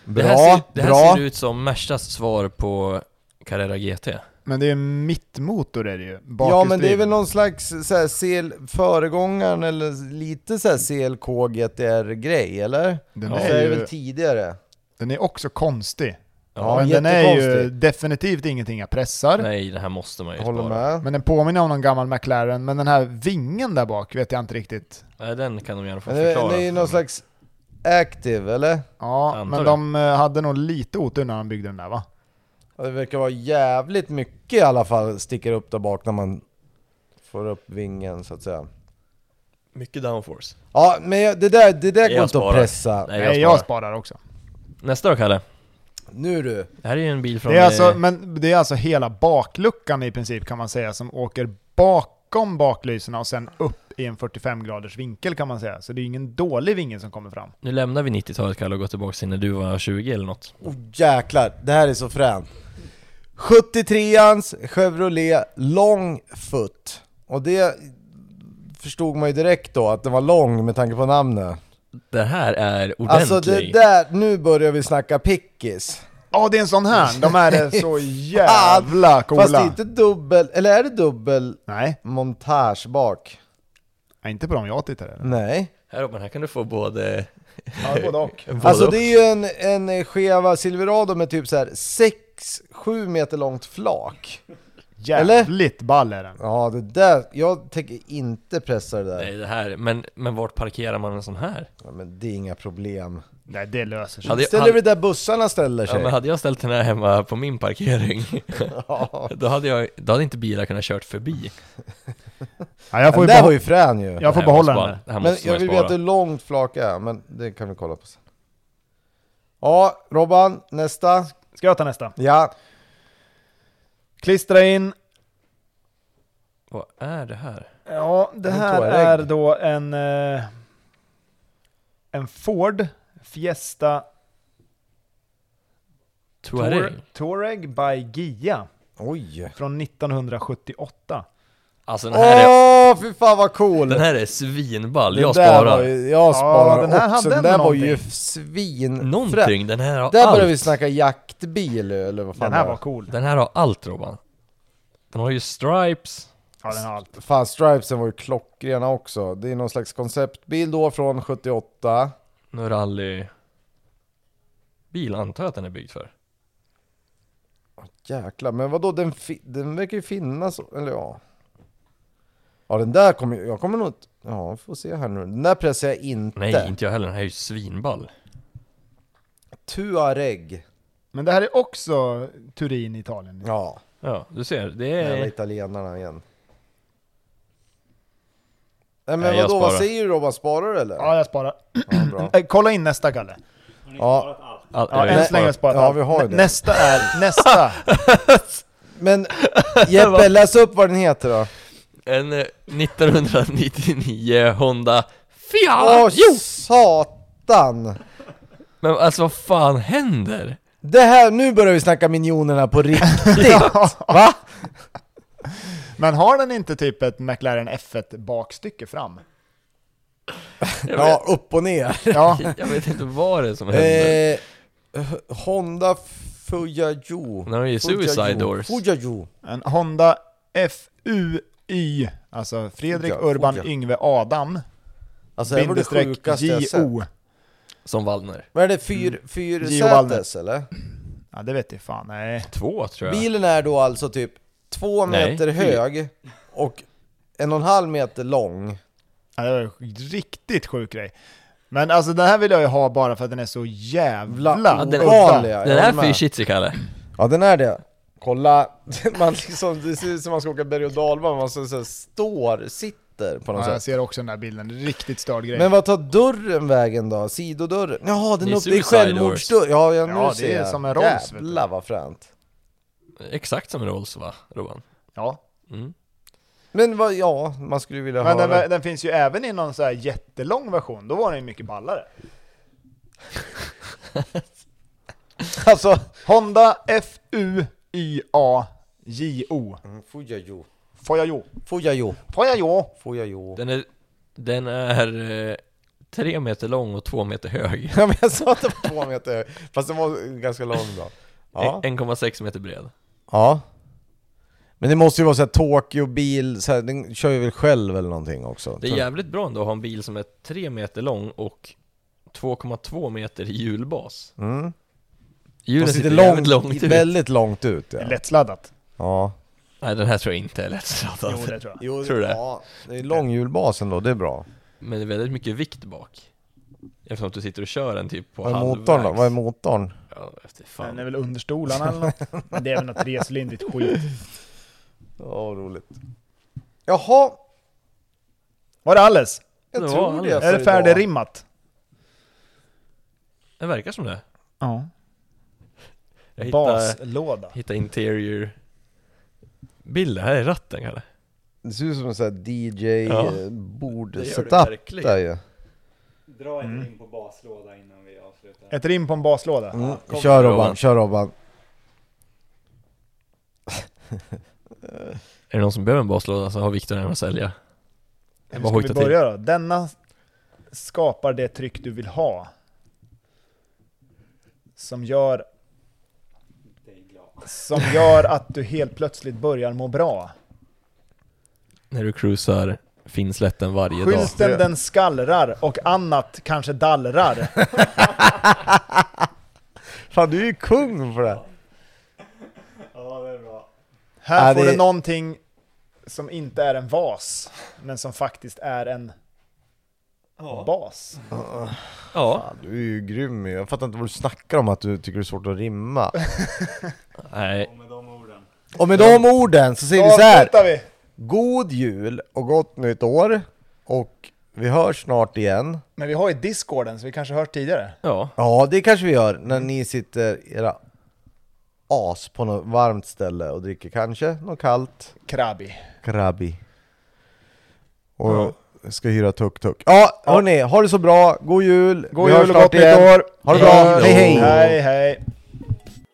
[SPEAKER 3] det här, ser, det här
[SPEAKER 1] bra.
[SPEAKER 3] ser ut som Mercas svar på Carrera GT.
[SPEAKER 2] Men det är ju mittmotor är det ju.
[SPEAKER 1] Ja men det är väl
[SPEAKER 2] bakhjulsdriven.
[SPEAKER 1] någon slags så här, CL, föregångaren eller lite så här CLK GTR grej eller?
[SPEAKER 2] Den,
[SPEAKER 1] Ja.
[SPEAKER 3] Ja.
[SPEAKER 1] Så är
[SPEAKER 2] är
[SPEAKER 1] det väl
[SPEAKER 2] ju,
[SPEAKER 1] tidigare?
[SPEAKER 2] den är också konstig.
[SPEAKER 1] Ja,
[SPEAKER 2] men den är ju
[SPEAKER 1] jättekonstig.
[SPEAKER 2] definitivt ingenting jag pressar.
[SPEAKER 3] Nej, det här måste man ju
[SPEAKER 1] Jag håller
[SPEAKER 3] spara.
[SPEAKER 1] med.
[SPEAKER 2] Men den påminner om någon gammal McLaren, men den här vingen där bak vet jag inte riktigt.
[SPEAKER 3] Nej, den kan de gärna få
[SPEAKER 1] Men det,
[SPEAKER 3] förklara.
[SPEAKER 1] det är ju någon slags Active eller?
[SPEAKER 2] Ja,
[SPEAKER 3] Antar
[SPEAKER 2] men de eh, hade nog lite otur när de byggde den där va?
[SPEAKER 1] Ja, Det verkar vara jävligt mycket i alla fall sticker upp där bak när man får upp vingen så att säga.
[SPEAKER 3] Mycket downforce.
[SPEAKER 1] Ja men jag- det där, det där
[SPEAKER 3] Jag
[SPEAKER 1] går inte att
[SPEAKER 3] sparar.
[SPEAKER 1] pressa.
[SPEAKER 3] Nej,
[SPEAKER 2] Nej,
[SPEAKER 3] jag,
[SPEAKER 2] jag
[SPEAKER 3] sparar.
[SPEAKER 2] sparar också.
[SPEAKER 3] Nästa då, Kalle.
[SPEAKER 1] Nu du.
[SPEAKER 3] Det här är ju en bil från...
[SPEAKER 2] Det är alltså,
[SPEAKER 3] eh,
[SPEAKER 2] men det är alltså hela bakluckan i princip kan man säga som åker bakom baklyserna och sen upp i en 45 graders vinkel kan man säga. Så det är ju ingen dålig vinge som kommer fram.
[SPEAKER 3] Nu lämnar vi 90-talet Kalle och går tillbaka till när du var 20 eller något.
[SPEAKER 1] Oh, jäklar, det här är så fränt. 73ans Chevrolet Longfoot. Och det förstod man ju direkt då att den var lång med tanke på namnet.
[SPEAKER 3] Det här är ordentlig.
[SPEAKER 1] Alltså det där, nu börjar vi snacka pickis.
[SPEAKER 2] Ja, det är en sån här! De här är så jävla
[SPEAKER 1] Fast det är
[SPEAKER 2] coola!
[SPEAKER 1] inte dubbel, eller är det dubbel
[SPEAKER 2] Nej,
[SPEAKER 1] montage bak?
[SPEAKER 2] inte på dem jag tittar
[SPEAKER 3] Mm.
[SPEAKER 2] eller?
[SPEAKER 1] Nej.
[SPEAKER 3] Här Robin, här kan du få både...
[SPEAKER 2] Ja, både och.
[SPEAKER 3] både
[SPEAKER 1] Alltså
[SPEAKER 3] och.
[SPEAKER 1] det är ju en, en skeva Silverado med typ så här 6-7 meter långt flak.
[SPEAKER 2] Jävligt ball är den.
[SPEAKER 1] Ja det där, jag tänker inte pressa det där.
[SPEAKER 3] Nej, det här... Men, men vart parkerar man en sån här?
[SPEAKER 1] Ja, men det är inga problem.
[SPEAKER 2] Nej, det löser sig.
[SPEAKER 3] Ja, det-
[SPEAKER 1] Ställer
[SPEAKER 3] han-
[SPEAKER 1] vi där bussarna ställer sig?
[SPEAKER 3] Ja, men hade jag ställt den här hemma på min parkering, då, hade jag, då hade inte bilar kunnat kört förbi.
[SPEAKER 2] Ja, jag
[SPEAKER 1] den
[SPEAKER 2] får ju
[SPEAKER 1] där
[SPEAKER 2] behå-
[SPEAKER 1] var ju frän ju!
[SPEAKER 2] Jag får
[SPEAKER 3] Nej,
[SPEAKER 2] behålla
[SPEAKER 3] måste
[SPEAKER 2] den där.
[SPEAKER 3] bara- det här
[SPEAKER 1] men
[SPEAKER 3] måste
[SPEAKER 1] jag
[SPEAKER 3] man
[SPEAKER 1] vill
[SPEAKER 3] ju spara.
[SPEAKER 1] veta hur långt flak är, men det kan vi kolla på sen. Ja, Robban, nästa.
[SPEAKER 2] Ska jag ta nästa?
[SPEAKER 1] Ja.
[SPEAKER 2] Klistra in.
[SPEAKER 3] Vad är det här?
[SPEAKER 2] Ja, det
[SPEAKER 1] En
[SPEAKER 2] här
[SPEAKER 1] Touareg.
[SPEAKER 2] är då en... eh, En Ford Fiesta
[SPEAKER 3] Touareg?
[SPEAKER 2] Tour- Touareg by Gia
[SPEAKER 1] Oj!
[SPEAKER 2] från 1978.
[SPEAKER 3] Alltså den
[SPEAKER 1] Åh,
[SPEAKER 3] här är...
[SPEAKER 1] fy fan vad cool!
[SPEAKER 3] Den här är svinball,
[SPEAKER 1] Den
[SPEAKER 3] jag
[SPEAKER 1] där
[SPEAKER 3] sparar.
[SPEAKER 1] var ju, jag sparar
[SPEAKER 2] den här
[SPEAKER 1] också,
[SPEAKER 2] hade
[SPEAKER 1] den där
[SPEAKER 2] ändå
[SPEAKER 1] var ju
[SPEAKER 2] någonting.
[SPEAKER 1] svinfrän.
[SPEAKER 3] Någonting, den här har
[SPEAKER 1] Där
[SPEAKER 3] allt.
[SPEAKER 1] börjar vi snacka jaktbil eller vad fan
[SPEAKER 2] Den här
[SPEAKER 1] det
[SPEAKER 2] var cool.
[SPEAKER 3] Den här har allt Robban. Den har ju stripes,
[SPEAKER 2] Ja, den har allt.
[SPEAKER 1] Fan, stripesen var ju klockrena också. Det är någon slags konceptbil då från 78.
[SPEAKER 3] nu rally... Bil antar jag att den är byggd för.
[SPEAKER 1] Jäklar, men vadå den, fi- den verkar ju finnas, eller ja. Ja den där kommer jag kommer nog inte, ja vi får se här nu. Den där pressar jag inte.
[SPEAKER 3] Nej, inte jag heller. Den här är ju svinball.
[SPEAKER 1] Tuareg.
[SPEAKER 2] Men det här är också Turin, Italien.
[SPEAKER 1] Ja,
[SPEAKER 3] Ja, du ser. Det
[SPEAKER 1] den jävla
[SPEAKER 3] är...
[SPEAKER 1] italienarna igen. Nej men
[SPEAKER 3] Nej, jag
[SPEAKER 1] vadå, vad
[SPEAKER 3] sparar.
[SPEAKER 1] säger du Robban, sparar du eller?
[SPEAKER 2] Ja, jag sparar.
[SPEAKER 1] Ja, bra.
[SPEAKER 2] Eh, Kolla in nästa, Kalle.
[SPEAKER 4] Har ni
[SPEAKER 1] Ja.
[SPEAKER 4] sparat allt?
[SPEAKER 3] All,
[SPEAKER 2] Ja,
[SPEAKER 3] jag
[SPEAKER 2] än
[SPEAKER 3] vet
[SPEAKER 2] så länge har jag sparat
[SPEAKER 1] Ja,
[SPEAKER 2] allt.
[SPEAKER 1] vi har ju
[SPEAKER 2] Nä-
[SPEAKER 1] det.
[SPEAKER 2] Nästa är... Nästa!
[SPEAKER 1] Men Jeppe, läs upp vad den heter då.
[SPEAKER 3] En eh, 1999 Honda
[SPEAKER 1] Åh
[SPEAKER 3] Fiat!
[SPEAKER 1] satan!
[SPEAKER 3] Men alltså vad fan händer?
[SPEAKER 1] Det här, nu börjar vi snacka minionerna på riktigt.
[SPEAKER 2] Va? Men har den inte typ ett McLaren F1 bakstycke fram?
[SPEAKER 1] ja, upp och ner.
[SPEAKER 2] Ja,
[SPEAKER 3] Jag vet inte vad det är som händer.
[SPEAKER 1] Eh, H- Honda Fujayo.
[SPEAKER 3] Den har ju suicide doors.
[SPEAKER 1] Fujayo.
[SPEAKER 2] en Honda FUY, alltså Fredrik
[SPEAKER 1] Oja,
[SPEAKER 2] Urban
[SPEAKER 1] oja.
[SPEAKER 2] Yngve Adam,
[SPEAKER 1] Alltså det var det
[SPEAKER 2] bindestreck
[SPEAKER 1] sjukaste jag sett.
[SPEAKER 2] JO.
[SPEAKER 3] Som Wallner.
[SPEAKER 1] Vad är det, fyr,
[SPEAKER 2] Gio Wallner.
[SPEAKER 1] fyrsätes eller?
[SPEAKER 2] Ja, det vet jag fan, nej.
[SPEAKER 3] Två tror jag.
[SPEAKER 1] Bilen är då alltså typ två
[SPEAKER 3] Nej,
[SPEAKER 1] meter
[SPEAKER 3] fyr.
[SPEAKER 1] hög och en och en halv meter lång.
[SPEAKER 2] Ja, det var en riktigt sjuk grej. Men alltså den här vill jag ju ha bara för att den är så jävla
[SPEAKER 1] Vla-
[SPEAKER 2] udda.
[SPEAKER 1] ovanliga. jag
[SPEAKER 3] Den här
[SPEAKER 1] håller
[SPEAKER 3] för
[SPEAKER 1] med.
[SPEAKER 3] shitsy Kalle.
[SPEAKER 1] Ja den är det. Kolla, man liksom, det ser ut som man ska åka berg och dalbana, man så, så här, står, sitter på något
[SPEAKER 3] Alltså.
[SPEAKER 2] Ja, jag
[SPEAKER 1] sätt.
[SPEAKER 2] ser också den där bilden, riktigt störd grej.
[SPEAKER 1] Men vad tar dörren vägen då? Sidodörren? Jaha, den
[SPEAKER 3] Det
[SPEAKER 1] är
[SPEAKER 3] är
[SPEAKER 1] uppe i
[SPEAKER 3] suicide doors.
[SPEAKER 1] självmordsdörren? Ja, ja, nu
[SPEAKER 2] Ja, det
[SPEAKER 1] ser
[SPEAKER 2] är
[SPEAKER 1] jag.
[SPEAKER 2] som en Rolls, vet du.
[SPEAKER 1] Jävlar vad fränt.
[SPEAKER 3] Exakt som Rolls va, Robban?
[SPEAKER 2] Ja.
[SPEAKER 3] Mm.
[SPEAKER 1] Men vad, ja, man skulle vilja
[SPEAKER 2] Men
[SPEAKER 1] höra.
[SPEAKER 2] den, den finns ju även i någon så här jättelång version, då var den ju mycket ballare.
[SPEAKER 1] Alltså...
[SPEAKER 2] Honda F-U-Y-A-J-O.
[SPEAKER 1] Mm, Fujajo.
[SPEAKER 2] Får jag jo?
[SPEAKER 1] Fujajo.
[SPEAKER 2] Får jag jo?
[SPEAKER 1] Fujajo.
[SPEAKER 3] Den är... Den är eh, tre meter lång och två meter hög.
[SPEAKER 1] Ja men jag sa att det var två meter hög, fast den var ganska lång då
[SPEAKER 3] Eh,
[SPEAKER 1] Ja,
[SPEAKER 3] 1,6 meter bred.
[SPEAKER 1] ja. Men det måste ju vara såhär Tokyo-bil, så här, den kör ju väl själv eller någonting också?
[SPEAKER 3] Det är jävligt bra ändå att ha en bil som är tre meter lång och 2,2 meter i hjulbas.
[SPEAKER 1] mm.
[SPEAKER 3] Hjulen
[SPEAKER 1] Den
[SPEAKER 3] sitter
[SPEAKER 1] sitter
[SPEAKER 3] jävligt
[SPEAKER 1] långt,
[SPEAKER 3] långt ut.
[SPEAKER 1] väldigt långt ut
[SPEAKER 2] Det är
[SPEAKER 1] ja.
[SPEAKER 2] Lättladdat.
[SPEAKER 1] ja.
[SPEAKER 3] Nej den här tror jag inte är
[SPEAKER 2] Jo,
[SPEAKER 3] lättsladdad.
[SPEAKER 2] det tror jag.
[SPEAKER 1] Jo,
[SPEAKER 3] Tror du det?
[SPEAKER 1] Ja, det är lång hjulbas ändå, det är bra.
[SPEAKER 3] Men det är väldigt mycket vikt bak. Eftersom att du sitter och kör den typ på
[SPEAKER 1] Vad är motorn då? Vad är motorn?
[SPEAKER 3] Ja, det är
[SPEAKER 2] Den
[SPEAKER 3] fan.
[SPEAKER 2] är väl under stolarna eller något. Men Det är väl något trecylindrigt skit.
[SPEAKER 1] Ja, vad roligt. Jaha,
[SPEAKER 2] Var det alles?
[SPEAKER 1] jag
[SPEAKER 3] Det var
[SPEAKER 1] tror det för
[SPEAKER 3] allt.
[SPEAKER 2] Är det
[SPEAKER 1] idag.
[SPEAKER 2] färdigrimmat?
[SPEAKER 3] Det verkar som det.
[SPEAKER 2] Ja.
[SPEAKER 3] Jag hittar,
[SPEAKER 2] Baslåda.
[SPEAKER 3] hittar interior bilder. Här är ratten kanske.
[SPEAKER 1] Det ser ut som en sån här
[SPEAKER 3] Ja.
[SPEAKER 1] DJ-bord-setup där ju. Mm,
[SPEAKER 4] Dra en in på baslåda innan vi avslutar.
[SPEAKER 2] Ett rim på en baslåda.
[SPEAKER 1] Mm.
[SPEAKER 4] kom.
[SPEAKER 1] Kör Robban,
[SPEAKER 3] Robban.
[SPEAKER 1] kör Robban.
[SPEAKER 3] Är det någon som behöver en baslåda så har Viktor en att sälja. Jag
[SPEAKER 2] Hur ska
[SPEAKER 3] bara
[SPEAKER 2] vi
[SPEAKER 3] hojtar till.
[SPEAKER 2] börja då? Denna skapar det tryck du vill ha. Som gör,
[SPEAKER 4] Det är glad.
[SPEAKER 2] som gör att du helt plötsligt börjar må bra.
[SPEAKER 3] När du cruisar Finnslätten varje dag.
[SPEAKER 2] Skylten den skallrar och annat kanske dallrar.
[SPEAKER 1] Fan du är ju kung för det!
[SPEAKER 4] Ja, det är bra.
[SPEAKER 2] Här
[SPEAKER 1] Ja,
[SPEAKER 2] får
[SPEAKER 1] det-
[SPEAKER 2] du någonting som inte är en vas, men som faktiskt är en bas.
[SPEAKER 3] Ja.
[SPEAKER 1] Du är ju grym ju. jag fattar inte vad du snackar om att du tycker det är svårt att rimma.
[SPEAKER 3] Nej.
[SPEAKER 4] Och med de orden.
[SPEAKER 1] Och med de orden så säger vi så här.
[SPEAKER 2] avslutar vi!
[SPEAKER 1] God jul och gott nytt år! Och vi hörs snart igen.
[SPEAKER 2] Men vi har ju discorden, så vi kanske hört tidigare.
[SPEAKER 3] Ja.
[SPEAKER 1] Ja, det kanske vi gör när ni sitter era as på något varmt ställe och dricker kanske något kallt
[SPEAKER 2] Krabi.
[SPEAKER 1] krabbi. Och ska hyra tuk-tuk. Ja, hörni, ha det så bra! God jul!
[SPEAKER 2] God
[SPEAKER 1] Vi
[SPEAKER 2] jul
[SPEAKER 1] hörs
[SPEAKER 2] och
[SPEAKER 1] snart
[SPEAKER 2] gott nytt
[SPEAKER 1] igen.
[SPEAKER 2] år!
[SPEAKER 1] Ha det bra! Hej hej!
[SPEAKER 2] Hej hej!